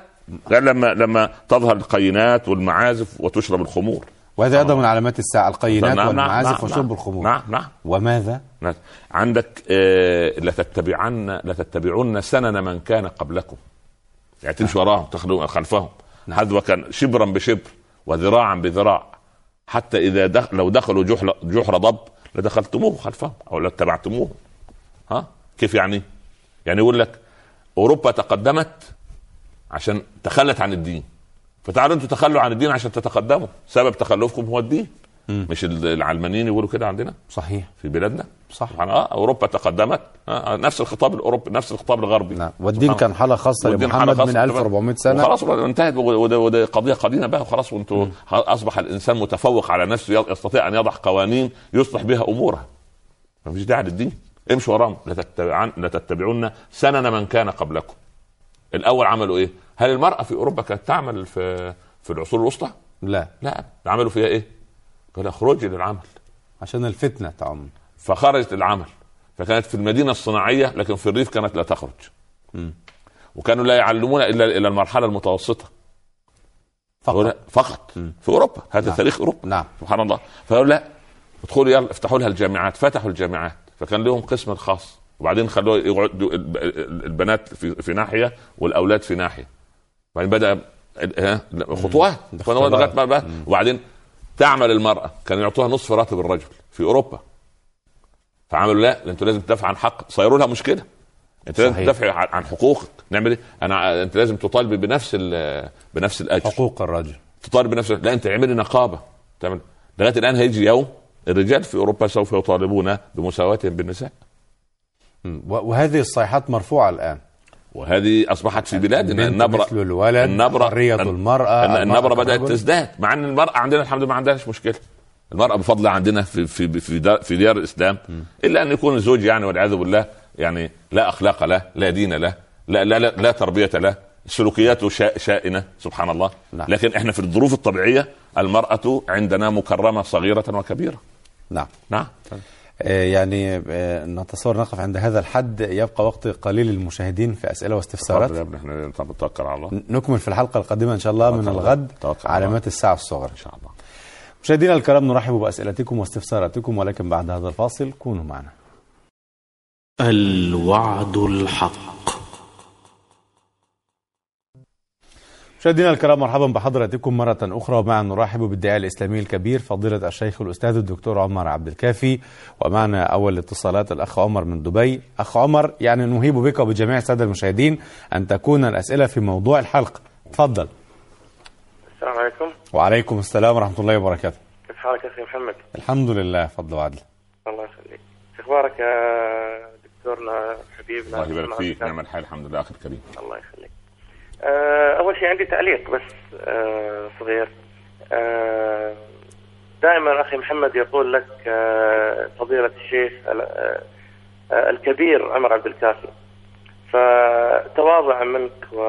لا لما لما تظهر القينات والمعازف وتشرب الخمور
وهذا ايضا من علامات الساعه القينات
نعم، نعم،
والمعازف
نعم،
وشرب
نعم.
الخمور
نعم نعم
وماذا
نعم. عندك آه لتتبعن لتتبعن سنن من كان قبلكم يعني تمشي وراهم تخلو خلفهم
نعم.
حذو كان شبرا بشبر وذراعا بذراع حتى اذا دخل لو دخلوا جحر جحر ضب لدخلتموه خلفهم او لاتبعتموه ها كيف يعني؟ يعني يقول لك اوروبا تقدمت عشان تخلت عن الدين فتعالوا انتوا تخلوا عن الدين عشان تتقدموا سبب تخلفكم هو الدين
مم.
مش العلمانيين يقولوا كده عندنا
صحيح
في بلادنا
صح
سبحان اه اوروبا تقدمت آه آه، نفس الخطاب الاوروبي نفس الخطاب الغربي
نعم والدين كان حاله خاصه
والدين حالة
لمحمد
خاصة
من
تمام.
1400 سنه
وخلاص وده- انتهت وده- وده وده قضيه قديمه بقى وخلاص وانتوا اصبح الانسان متفوق على نفسه ي- يستطيع ان يضع قوانين يصلح بها اموره ما فيش داعي للدين امشوا وراهم لتتبعن لتتبعن سنن من كان قبلكم الاول عملوا ايه؟ هل المراه في اوروبا كانت تعمل في في العصور الوسطى؟
لا
لا عملوا فيها ايه؟ قال اخرجي للعمل
عشان الفتنه تعم
فخرجت العمل فكانت في المدينه الصناعيه لكن في الريف كانت لا تخرج
مم.
وكانوا لا يعلمون الا الى المرحله المتوسطه فقط, فقط.
مم.
في اوروبا هذا
نعم.
تاريخ اوروبا
نعم
سبحان الله فقالوا لا ادخلوا يلا افتحوا لها الجامعات فتحوا الجامعات فكان لهم قسم خاص وبعدين خلوه يقعدوا الب- البنات في, في ناحيه والاولاد في ناحيه بعدين بدا ال- ها خطوات
ده
فأنا
اختبار.
لغاية ما بقى- وبعدين تعمل المراه كانوا يعطوها نصف راتب الرجل في اوروبا فعملوا لا ده انتوا لازم تدافع عن حق صيروا لها مشكله انت لازم
صحيح.
تدافع عن- عن حقوقك نعمل ايه؟ انا انت لازم تطالب بنفس ال- بنفس الاجر
حقوق الرجل
تطالب بنفس لا انت اعملي نقابه تعمل لغايه الان هيجي يوم الرجال في اوروبا سوف يطالبون بمساواتهم بالنساء
مم. و- وهذه الصيحات مرفوعه الان
وهذه اصبحت في بلادنا
البنت
النبره
مثل الولد
النبرة-
حريه
الن-
المرأة
الن- النبره بدات
كالرجل.
تزداد مع ان المراه عندنا الحمد لله ما عندهاش مشكله المراه بفضل عندنا في في في دار, في ديار الاسلام الا ان يكون الزوج يعني والعياذ بالله يعني لا اخلاق له لا دين له لا لا لا, لا تربيه له سلوكياته شا- شائنه سبحان الله
نعم.
لكن احنا في الظروف الطبيعيه المراه عندنا مكرمه صغيره وكبيره
نعم
نعم
آه، يعني آه، نتصور نقف عند هذا الحد يبقى وقت قليل للمشاهدين في اسئله
طب يا
واستفسارات
ابني احنا طب نتوكل على الله ان
نكمل في الحلقه القادمه ان شاء الله من
توكل على
الغد
الله. توكل على
علامات الساعه الصغرى
شاء الله
مشاهدينا الكرام نرحب باسئلتكم واستفساراتكم ولكن بعد هذا الفاصل كونوا معنا
الوعد الحق
مشاهدينا الكرام مرحبا بحضراتكم مرة أخرى ومعا نرحب بالداعية الإسلامي الكبير فضيلة الشيخ الأستاذ الدكتور عمر عبد الكافي ومعنا أول اتصالات الأخ عمر من دبي أخ عمر يعني نهيب بك وبجميع السادة المشاهدين أن تكون الأسئلة في موضوع الحلقة تفضل
السلام عليكم
وعليكم السلام ورحمة الله وبركاته
كيف حالك أخي محمد
الحمد لله فضل وعدل
الله يخليك شو أخبارك يا دكتورنا حبيبنا
الله يبارك فيك نعم
نعم
الحال الحمد لله اخي الكريم
الله يخليك آه، أول شيء عندي تعليق بس آه، صغير آه، دائما أخي محمد يقول لك آه، فضيلة الشيخ ال- آه، آه، الكبير عمر عبد الكافي فتواضع منك و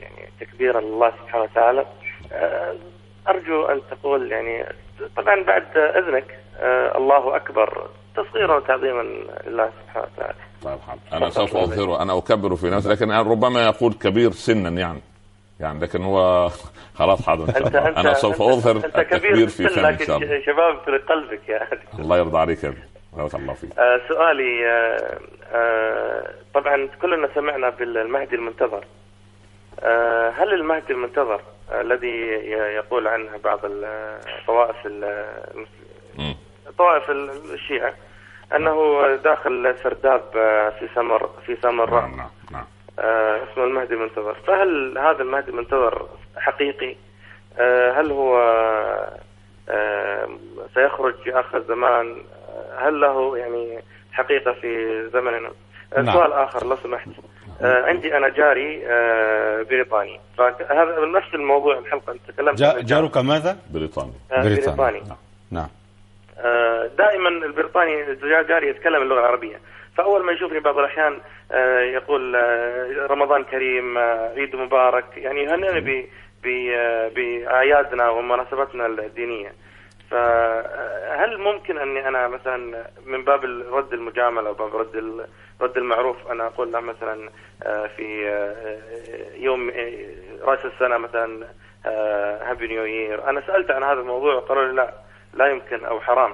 يعني تكبيرا لله سبحانه وتعالى آه، أرجو أن تقول يعني طبعا بعد إذنك آه، الله أكبر تصغيرا وتعظيما لله سبحانه وتعالى
طيب حاضر. انا سوف اظهره انا اكبر في نفسي لكن أنا ربما يقول كبير سنا يعني يعني لكن هو خلاص حاضر ان شاء
انت
الله
انت
انا سوف اظهر
انت
التكبير
كبير
في
في
فمي ان شاء الله
لكن شباب في قلبك يا أخي.
الله يرضى عليك يا ابني بارك الله فيك
آه، سؤالي آه، آه، طبعا كلنا سمعنا بالمهدي المنتظر آه، هل المهدي المنتظر آه، الذي ي- يقول عنه بعض الطوائف
مم.
طوائف الشيعة أنه داخل سرداب آه، في سمر في سمر
نعم نعم نعم
آه، اسمه المهدي المنتظر فهل هذا المهدي المنتظر حقيقي آه، هل هو آه، سيخرج في آخر الزمان آه، هل له يعني حقيقة في زمننا آه،
نعم.
سؤال آخر لو سمحت آه، عندي أنا جاري آه، بريطاني فهذا من نفس الموضوع الحلقة أنت تكلمت عن
جا
الجار.
جارك ماذا؟
بريطانيا
آه،
بريطانيا.
بريطاني
نعم
آه، دائما البريطاني الجاري يتكلم اللغه العربيه فاول ما يشوفني بعض الاحيان آه، يقول آه، رمضان كريم آه، عيد مبارك يعني يهنئني ب- ب- آه، باعيادنا ومناسباتنا الدينيه فهل آه، ممكن اني انا مثلا من باب رد المجامله وباب رد ال- رد المعروف انا اقول له مثلا آه، في آه، يوم آه، راس السنه مثلا هابي نيو يير انا سالت عن هذا الموضوع وقالوا لي لا لا يمكن او حرام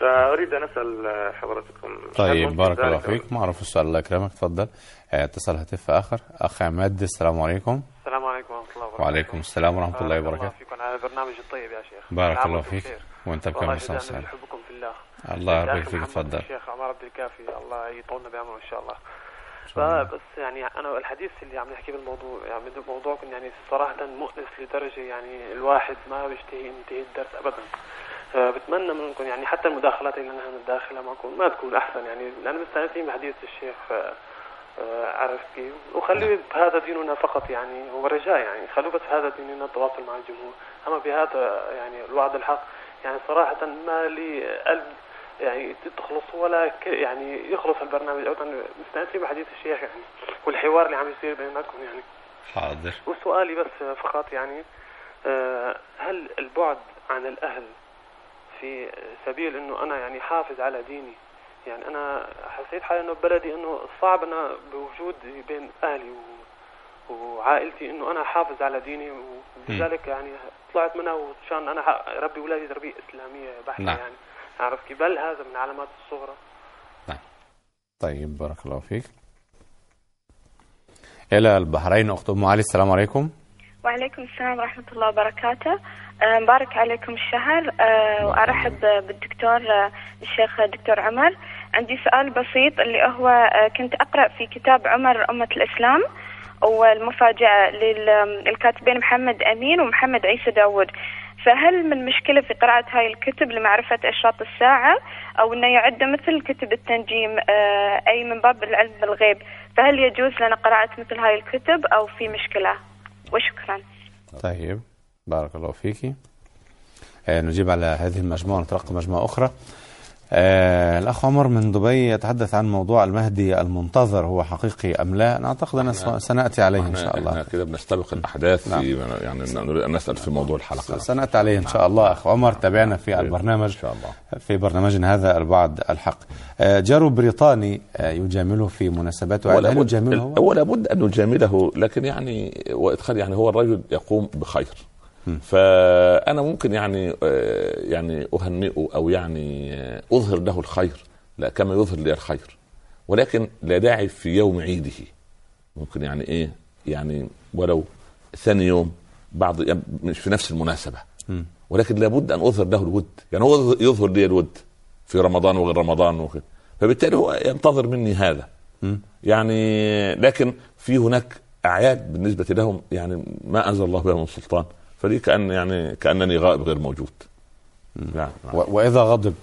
فاريد ان اسال حضرتكم هل
طيب
ممكن
بارك
ذلك
الله
أو-
فيك معروف السؤال الله يكرمك تفضل آه، اتصال هاتف آخر أخ عماد السلام عليكم
السلام عليكم ورحمة الله وبركاته
وعليكم السلام ورحمة الله
بارك
وبركاته
فيكم على البرنامج الطيب يا شيخ نعم،
بارك
كل عام
الله
وأنتم
فيك
بخير.
وانت
والله
بكم صحة
جزانا من
وسلامة
حبكم في الله
الله
يا
يرضي
أخي
فيك
محمد
تفضل
الشيخ عمر عبد الكافي الله يطولنا بعمره إن شاء الله
الله.
فبس يعني انا الحديث اللي عم نحكي بالموضوع يعني بدو- موضوعكم يعني صراحه مؤنس لدرجه يعني الواحد ما بيشتهي ينتهي الدرس ابدا فبتمنى منكم يعني حتى المداخلات اللي نحن نداخلها معكم ما تكون احسن يعني لان مستانسين بحديث الشيخ آه، آه، عرفت كيف وخليه بهذا ديننا فقط يعني هو رجاء يعني خلوه بس هذا ديننا التواصل مع الجمهور اما بهذا يعني الوعد الحق يعني صراحه ما لي قلب يعني تخلص ولا ك... يعني يخلص البرنامج ابدا مستانسين بحديث الشيخ يعني والحوار اللي عم يصير بيناتكم يعني
حاضر
وسؤالي بس فقط يعني آه، هل البعد عن الأهل في سبيل أنه أنا يعني حافظ على ديني يعني أنا حسيت حالي أنه ببلدي أنه صعب أنا بوجودي بين أهلي و- وعائلتي أنه أنا حافظ على ديني ولذلك يعني طلعت منها وشان أنا ح- أربي أولادي تربية إسلامية بحتة
نعم.
يعني عرفت كيف بل هذا من علامات الصغرى
طيب بارك الله فيك إلى البحرين أخت أم علي السلام عليكم
وعليكم السلام ورحمة الله وبركاته آه، مبارك عليكم الشهر آه، وأرحب بالدكتور آه، الشيخ دكتور عمر عندي سؤال بسيط اللي هو آه، كنت أقرأ في كتاب عمر أمة الإسلام والمفاجأة للكاتبين محمد أمين ومحمد عيسى داود فهل من مشكلة في قراءة هاي الكتب لمعرفة أشراط الساعة أو أنه يعد مثل كتب التنجيم آه، أي من باب العلم بالغيب فهل يجوز لنا قراءة مثل هاي الكتب أو في مشكلة؟ وشكرا
طيب بارك الله فيكي آه نجيب على هذه المجموعة ونترقى مجموعة أخرى آه الأخ عمر من دبي يتحدث عن موضوع المهدي المنتظر هو حقيقي أم لا أنا أعتقد أن
إحنا-
سنأتي عليه إن
إحنا-
شاء
إحنا
الله
كده بنستبق الاحداث
نعم.
في يعني نريد ان نسال في موضوع الحلقه
سنأتي عليه إن شاء الله أخ عمر تابعنا في
نعم.
البرنامج
ان شاء الله
في برنامجنا هذا البعد الحق آه، جار بريطاني آه، يجامله في مناسبات وعيد هل
لابد-
يجامله هو؟
هو لابد ان نجامله لكن يعني وادخال يعني هو الرجل يقوم بخير فانا ممكن يعني آه، يعني اهنئه او يعني آه، اظهر له الخير لا كما يظهر لي الخير ولكن لا داعي في يوم عيده ممكن يعني ايه يعني إيه، ولو ثاني يوم بعض يعني مش في نفس المناسبه ولكن لابد ان اظهر له الود يعني هو يظهر لي الود في رمضان وغير رمضان وكده فبالتالي هو ينتظر مني هذا
مم.
يعني لكن في هناك اعياد بالنسبه لهم يعني ما انزل الله بها من سلطان فدي كان يعني كانني غائب غير موجود نعم نعم.
و- واذا غضب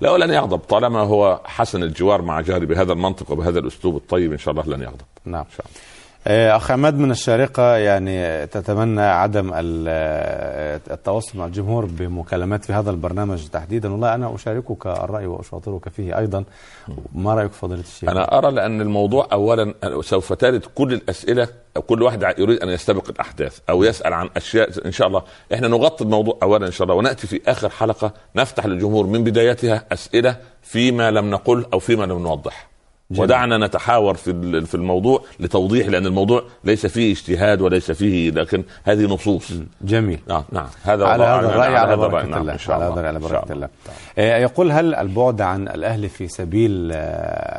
لا لن يغضب طالما هو حسن الجوار مع جاري بهذا المنطق وبهذا الاسلوب الطيب ان شاء الله لن يغضب
نعم
ان شاء الله
آه، اخ عماد من الشارقه يعني تتمنى عدم ال- آه، التواصل مع الجمهور بمكالمات في هذا البرنامج تحديدا والله انا اشاركك الراي واشاطرك فيه ايضا ما رايك فضيله الشيخ
انا ارى لان الموضوع اولا سوف ترد كل الاسئله أو كل واحد ع- يريد ان يستبق الاحداث او
نعم.
يسال عن اشياء ان شاء الله احنا نغطي الموضوع اولا ان شاء الله وناتي في اخر حلقه نفتح للجمهور من بدايتها اسئله فيما لم نقل او فيما لم نوضح
جميل.
ودعنا نتحاور في ال- في الموضوع لتوضيح لان الموضوع ليس فيه اجتهاد وليس فيه لكن هذه نصوص
جميل
نعم نعم هذا
على
والله
هذا
أعلم.
الرأي على بركة
نعم،
الله
إن شاء
على
الله.
هذا الرأي على
إن شاء
بركة
الله.
الله آه، يقول هل البعد عن الأهل في سبيل آه،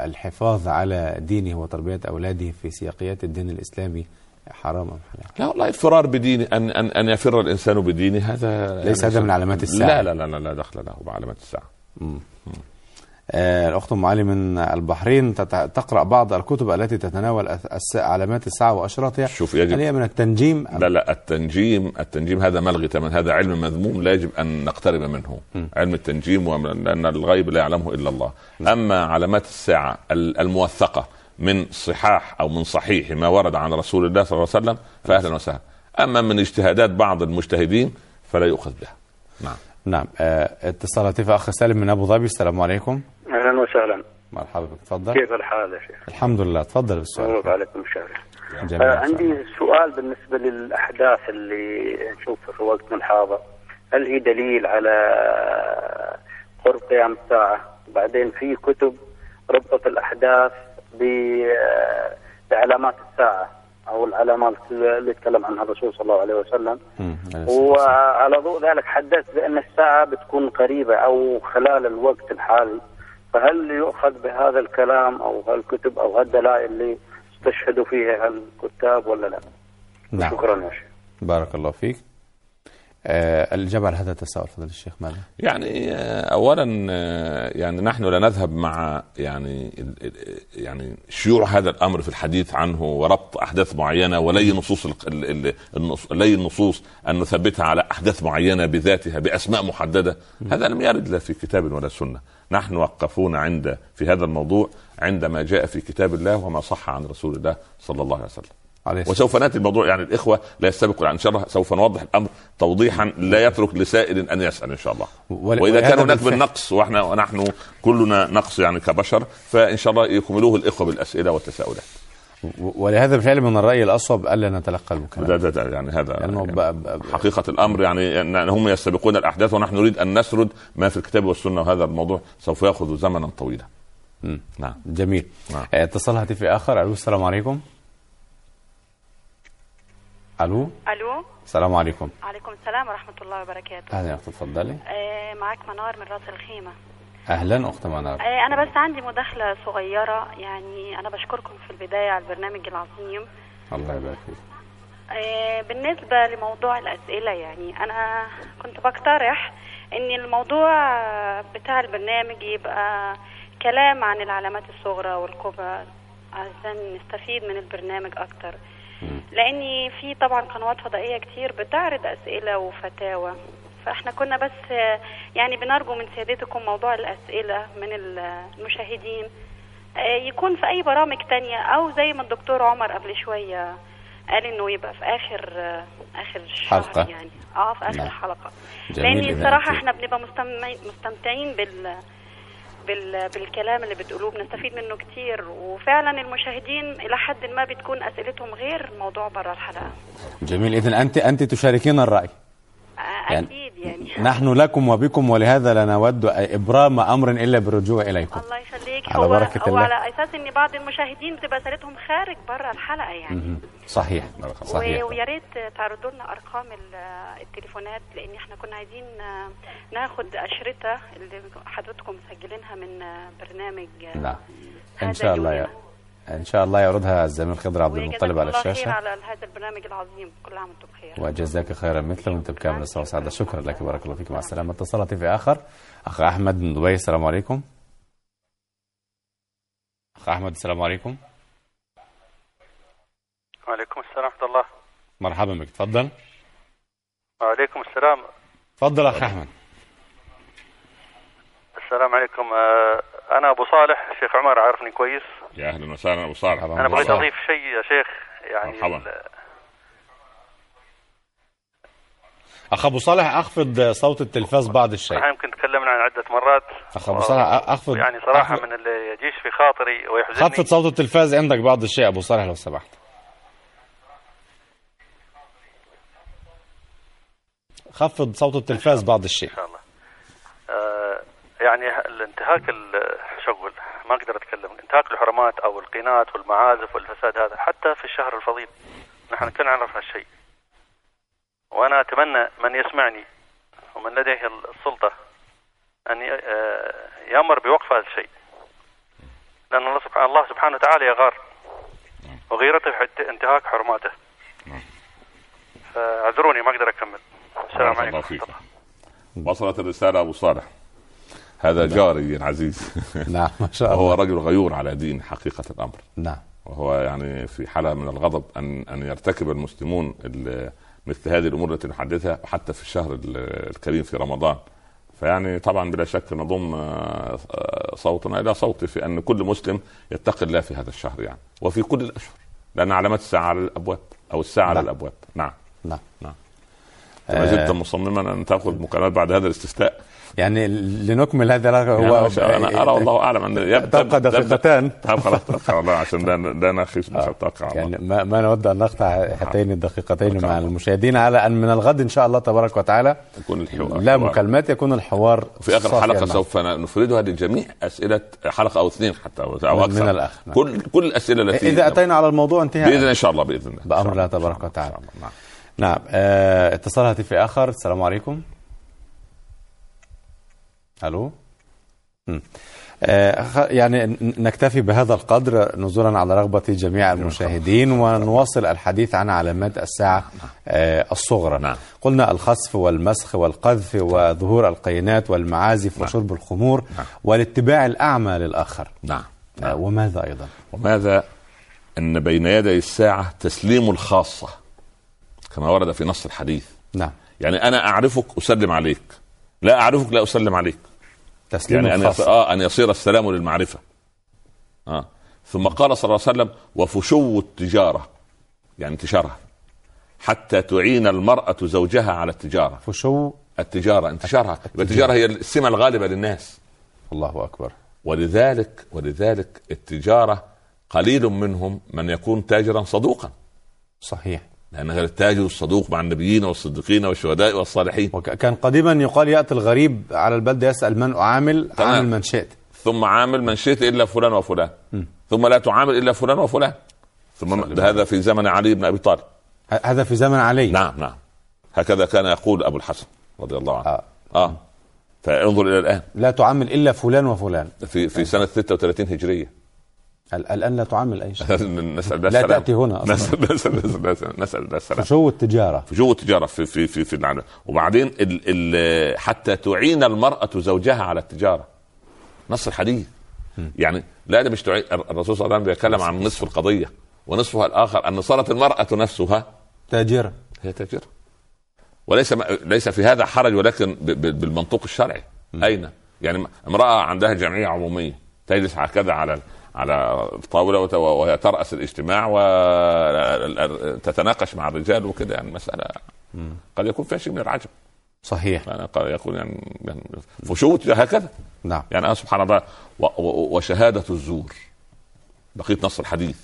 الحفاظ على دينه وتربية أولاده في سياقيات الدين الإسلامي حرام أم حلال؟
لا والله الفرار بدينه ان ان ان يفر الانسان بدينه هذا يعني
ليس هذا من علامات الساعة.
لا لا لا لا, لا دخل له بعلامات الساعه
آه، الأخت أم علي من البحرين تت- تقرأ بعض الكتب التي تتناول أث- الس- علامات الساعة وأشراطها
شوف يجب-
هل هي من التنجيم أم
لا لا التنجيم التنجيم هذا ملغي تماما هذا علم مذموم لا يجب ان نقترب منه علم التنجيم ومن- لان الغيب لا يعلمه الا الله اما علامات الساعه ال- الموثقه من صحاح او من صحيح ما ورد عن رسول الله صلى الله عليه وسلم فاهلا وسهلا اما من اجتهادات بعض المجتهدين فلا يؤخذ بها نعم
نعم آه، اتصال هاتفي أخ سالم من أبو ظبي السلام عليكم
اهلا وسهلا
مرحبا بك تفضل
كيف الحال يا شيخ؟
الحمد لله تفضل بالسؤال
مبروك عليكم الشهر
جميل
آه،
إن شاء الله.
عندي سؤال بالنسبة للأحداث اللي نشوفها في وقتنا الحاضر هل هي دليل على قرب قيام الساعة بعدين في كتب ربطت الأحداث ب- آه، بعلامات الساعة أو العلامات اللي تكلم عنها الرسول صلى الله عليه وسلم
مم، عليه الصلاة والسلام.
وعلى ضوء ذلك حدث بأن الساعة بتكون قريبة أو خلال الوقت الحالي فهل يؤخذ بهذا الكلام أو هالكتب أو هالدلائل اللي استشهدوا فيها الكتاب ولا لا؟
نعم
شكرا يا شيخ.
بارك الله فيك آه الإجابة على هذا التساؤل فضل الشيخ ماذا؟
يعني آه، اولا آه، يعني نحن لا نذهب مع يعني ال- ال- يعني شيوع هذا الامر في الحديث عنه وربط احداث معينه ولي نصوص ال- ال- ال- النص- لي النصوص ان نثبتها على احداث معينه بذاتها باسماء محدده هذا لم يرد لا في كتاب ولا سنه نحن وقفون عند في هذا الموضوع عندما جاء في كتاب الله وما صح عن رسول الله صلى الله عليه وسلم
عليه الصلاة
وسوف ناتي الموضوع يعني الاخوه لا يستبقوا الان ان شاء الله سوف نوضح الامر توضيحا لا يترك لسائل ان يسال ان شاء الله
ولا-
واذا كان
وهذا
هناك
بالفعل.
بالنقص واحنا ونحن كلنا نقص يعني كبشر فان شاء الله يكملوه الاخوه بالاسئله والتساؤلات
و- ولهذا بالفعل من الرأي الأصوب ألا نتلقى
ده
المكالمة
ده ده يعني هذا
لأنه ب-
يعني
ب- ب-
حقيقه الامر يعني ان هم يستبقون الاحداث ونحن نريد ان نسرد ما في الكتاب والسنه وهذا الموضوع سوف ياخذ زمنا طويلا
مم.
نعم
جميل
نعم.
آه، اتصال هاتفي آخر ألو السلام عليكم ألو
الو
السلام عليكم
عليكم السلام ورحمه الله وبركاته
أهلا يا أخت تفضلي
آه، معاك منار من راس الخيمه
أهلا أخت منار
آه، أنا بس عندي مداخلة صغيرة يعني أنا بشكركم في البداية على البرنامج العظيم
الله يبارك فيك
آه، بالنسبة لموضوع الأسئلة يعني أنا كنت بقترح إن الموضوع آه، بتاع البرنامج يبقى كلام عن العلامات الصغرى والكبرى عشان نستفيد من البرنامج أكتر لأن في طبعا قنوات فضائية كتير بتعرض أسئلة وفتاوى فإحنا كنا بس آه، يعني بنرجو من سيادتكم موضوع الأسئلة من المشاهدين آه، يكون في أي برامج تانية أو زي ما الدكتور عمر قبل شوية قال انه يبقى في اخر آه، اخر شهر
حلقة.
يعني اه في اخر
نعم.
حلقه
جميل
لان
إذا
الصراحه
أنت-
احنا بنبقى مستمعين- مستمتعين بال بال... بالكلام اللي بتقولوه بنستفيد منه كتير وفعلا المشاهدين الى حد ما بتكون اسئلتهم غير موضوع بره الحلقه
جميل إذا أنت أنت تشاركين الرأي
آه،
يعني-
اكيد يعني
نحن لكم وبكم ولهذا لا نود إبرام أمر إلا بالرجوع إليكم
الله يخليك
على
هو
بركة
هو
الله.
على اساس ان بعض المشاهدين بتبقى اسئلتهم خارج بره الحلقه يعني
مم. صحيح
و-
صحيح
ويا ريت تعرضوا لنا ارقام ال- التليفونات لان احنا كنا عايزين آه، ناخد اشرطه اللي حضرتكم مسجلينها من آه، برنامج آه،
نعم
هذا
إن شاء الله يا
اليوم.
ان شاء الله يعرضها الزميل خضر عبد المطلب على
الله خير
الشاشه
على هذا البرنامج العظيم كل عام وانتم بخير
وجزاك خيرا مثله وانت بكامل الصحه والسعاده شكرا لك بارك الله فيك مع السلامه اتصلت في اخر اخ احمد من دبي السلام عليكم اخ احمد السلام عليكم
وعليكم السلام ورحمة الله
مرحبا بك تفضل
وعليكم السلام
تفضل اخ احمد
السلام عليكم آه، أنا أبو صالح الشيخ عمر عارفني كويس
يا اهلا وسهلا ابو صالح
أنا بغيت أضيف شيء يا شيخ يعني
مرحبا.
اخ ابو صالح اخفض صوت التلفاز بعض الشيء
احنا يمكن تكلمنا عن عدة مرات
أخ أبو صالح، أ- أخفض-
يعني صراحة
أخفض.
من اللي يجيش في خاطري ويحزنني
خفض صوت التلفاز عندك بعض الشيء ابو صالح لو سمحت خفض صوت التلفاز بعض الشيء
آه، يعني الانتهاك ال- شو اقول ما اقدر اتكلم انتهاك الحرمات او القينات والمعازف والفساد هذا حتى في الشهر الفضيل نحن كلنا نعرف هالشيء وانا اتمنى من يسمعني ومن لديه السلطه ان ي- آه، يامر بوقف هذا الشيء لان الله سبحانه الله سبحانه وتعالى يغار وغيرته حتى انتهاك حرماته فاعذروني ما اقدر اكمل السلام
نعم. بارك
عليكم
الله فيك وصلت الرسالة أبو صالح هذا جاري العزيز
نعم ما شاء
هو
الله
رجل غيور على دين حقيقة الأمر
نعم
وهو يعني في حالة من الغضب أن أن يرتكب المسلمون ال- مثل هذه الأمور التي نحدثها حتى في الشهر ال- الكريم في رمضان فيعني طبعا بلا شك نضم آه، آه، صوتنا إلى صوتي في أن كل مسلم يتقي الله في هذا الشهر يعني وفي كل الأشهر لأن علامات الساعة على الأبواب أو الساعة على
نعم.
الأبواب نعم
نعم
نعم ما
آه.
زلت مصمما أن تأخذ مكالمات بعد هذا الاستفتاء
يعني لنكمل هذا الرقم،
يعني
هو إيه،
أنا- انا ارى والله اعلم ان يبدا
تبقى دقيقتان
تبقى آه، دقيقه والله عشان لا لا نخيش مش الطاقه على
يعني
الله.
ما, ما نود ان نقطع هاتين الدقيقتين مع المشاهدين على ان من الغد ان شاء الله تبارك وتعالى
يكون الحوار
لا
الحوار.
مكالمات يكون الحوار
أيوة، في اخر
صافياً
حلقه
معك.
سوف نفردها لجميع اسئله حلقه او اثنين حتى او
من-
أو اكثر
من الأخ، نعم.
كل كل الاسئله التي
اذا اتينا على الموضوع انتهى
باذن ان شاء الله باذن الله
بامر الله تبارك وتعالى نعم آه، اتصال هاتفي اخر السلام عليكم الو مم. آه، أخ- يعني ن- نكتفي بهذا القدر نزولا على رغبة جميع
نعم.
المشاهدين ونواصل الحديث عن علامات الساعة آه، الصغرى
نعم.
قلنا الخسف والمسخ والقذف وظهور القينات والمعازف وشرب الخمور والاتباع الأعمى للآخر
نعم
آه، وماذا أيضا
وماذا ان بين يدي الساعه تسليم الخاصه كما ورد في نص الحديث
نعم
يعني انا اعرفك اسلم عليك لا اعرفك لا اسلم عليك
تسليم
يعني أن
الخاص
يصير, آه أن يصير السلام للمعرفة آه. ثم قال صلى الله عليه وسلم وفشو التجارة يعني انتشارها حتى تعين المرأة زوجها على التجارة
فشو
التجارة انتشارها يبقى التجارة هي السمة الغالبة للناس
الله أكبر
ولذلك ولذلك التجارة قليل منهم من يكون تاجرا صدوقا
صحيح
لأن غير التاجر الصدوق مع النبيين والصديقين والشهداء والصالحين
وكان قديما يقال ياتي الغريب على البلده يسال من اعامل
تمام.
عامل من شئت
ثم عامل من شئت الا فلان وفلان ثم لا تعامل الا فلان وفلان ثم هذا في زمن علي بن ابي طالب
ه- هذا في زمن علي
نعم نعم هكذا كان يقول ابو الحسن رضي الله عنه
آه.
اه, آه. فانظر الى الان
لا تعامل الا فلان وفلان
في في سنه 36 هجريه
ال- الان لا تعامل اي
نعم.
شيء
نسال
لا تأتي هنا أصلاً.
نسال نسال نسال نسال نسال
شو التجاره
في جو التجاره في في في, في العالم. وبعدين ال ال حتى تعين المراه زوجها على التجاره نص الحديث يعني لا ده مش تعين الرسول صلى الله عليه وسلم بيتكلم عن نصف القضيه ونصفها الاخر ان صارت المراه نفسها
تاجره
هي تاجره وليس ليس في هذا حرج ولكن ب- ب- بالمنطوق الشرعي اين يعني امراه عندها جمعيه عموميه تجلس هكذا على على طاوله وت- وهي تراس الاجتماع وتتناقش مع الرجال وكده يعني مساله قد يكون فيها شيء من العجب
صحيح
يعني قد يكون يعني يعني فشوت هكذا
نعم
يعني انا سبحان الله و- و- وشهاده الزور بقيه نص الحديث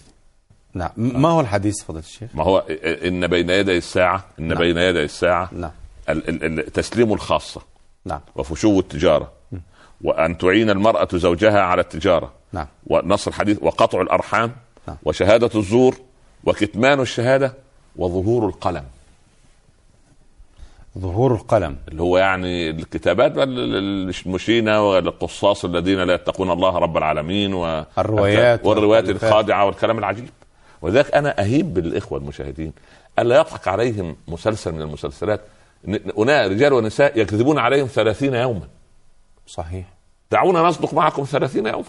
نعم م- ما هو الحديث فضيله الشيخ
ما هو ان بين يدي الساعه ان بين يدي الساعه
نعم
ال- ال- ال- تسليم الخاصة
نعم
وفشو التجارة وأن تعين المرأة زوجها على التجارة
نعم
ونص الحديث وقطع الأرحام
نعم.
وشهادة الزور وكتمان الشهادة وظهور القلم
ظهور القلم
اللي هو يعني الكتابات المشينة والقصاص الذين لا يتقون الله رب العالمين و...
الروايات
والروايات
والألفاظ.
الخادعة والكلام العجيب ولذلك أنا أهيب بالإخوة المشاهدين ألا يطلق عليهم مسلسل من المسلسلات هنا رجال ونساء يكذبون عليهم ثلاثين يوما
صحيح
دعونا نصدق معكم ثلاثين يوما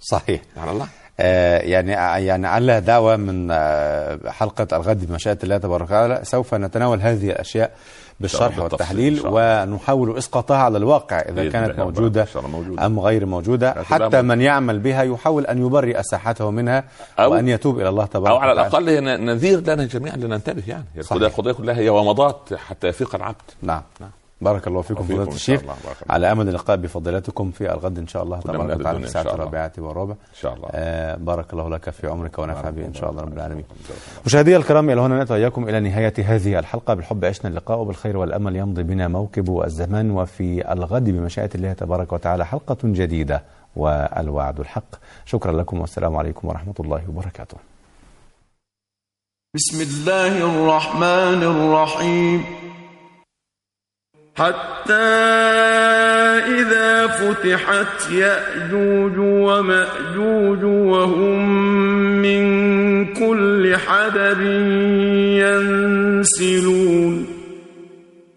صحيح
على الله
آه، يعني يعني على دعوة من آه، حلقة الغد بمشيئة الله تبارك وتعالى سوف نتناول هذذه الأشياء بالشرح
بالتفصيل إن
والتحليل
شاء
ونحاول إسقاطها على الواقع إذا
بإذن
كانت
الله يا رب.
موجودة
إن شاء الله موجودة.
أم غير موجودة حتى
موجودة.
من يعمل بها يحاول أن يبرئ ساحته منها
أو-
وأن يتوب إلى الله تبارك
أو على
وتعالى
الأقل هي ن- نذير لنا جميعا لننتبه يعني هي
صحيح.
القضية- القضية كلها هي ومضات حتى يفيق العبد
نعم بارك الله فيكم
وفيكم
فضيلة
إن شاء
الشيخ
الله بارك الله.
على أمل اللقاء بفضيلتكم في الغد إن شاء الله
كلما
تبارك
نرد
وتعالى في
الدنيا إن
الساعة
شاء الله.
الرابعة والربع
إن شاء الله
آه، بارك الله لك في عمرك ونفع به إن شاء الله رب العالمين
الله.
مشاهدي الكرام إلى هنا نأتي وإياكم إلى نهاية هذه الحلقة بالحب عشنا اللقاء وبالخير والأمل يمضي بنا موكب الزمان وفي الغد بمشيئة الله تبارك وتعالى حلقة جديدة والوعد الحق شكرا لكم والسلام عليكم ورحمة الله وبركاته
بسم الله الرحمن الرحيم
حتى إذا فتحت يأجوج ومأجوج وهم من كل حدب ينسلون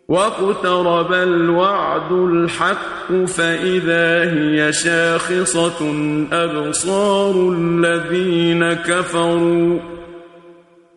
واقترب الوعد الحق فإذا هي شاخصة أبصار الذين كفروا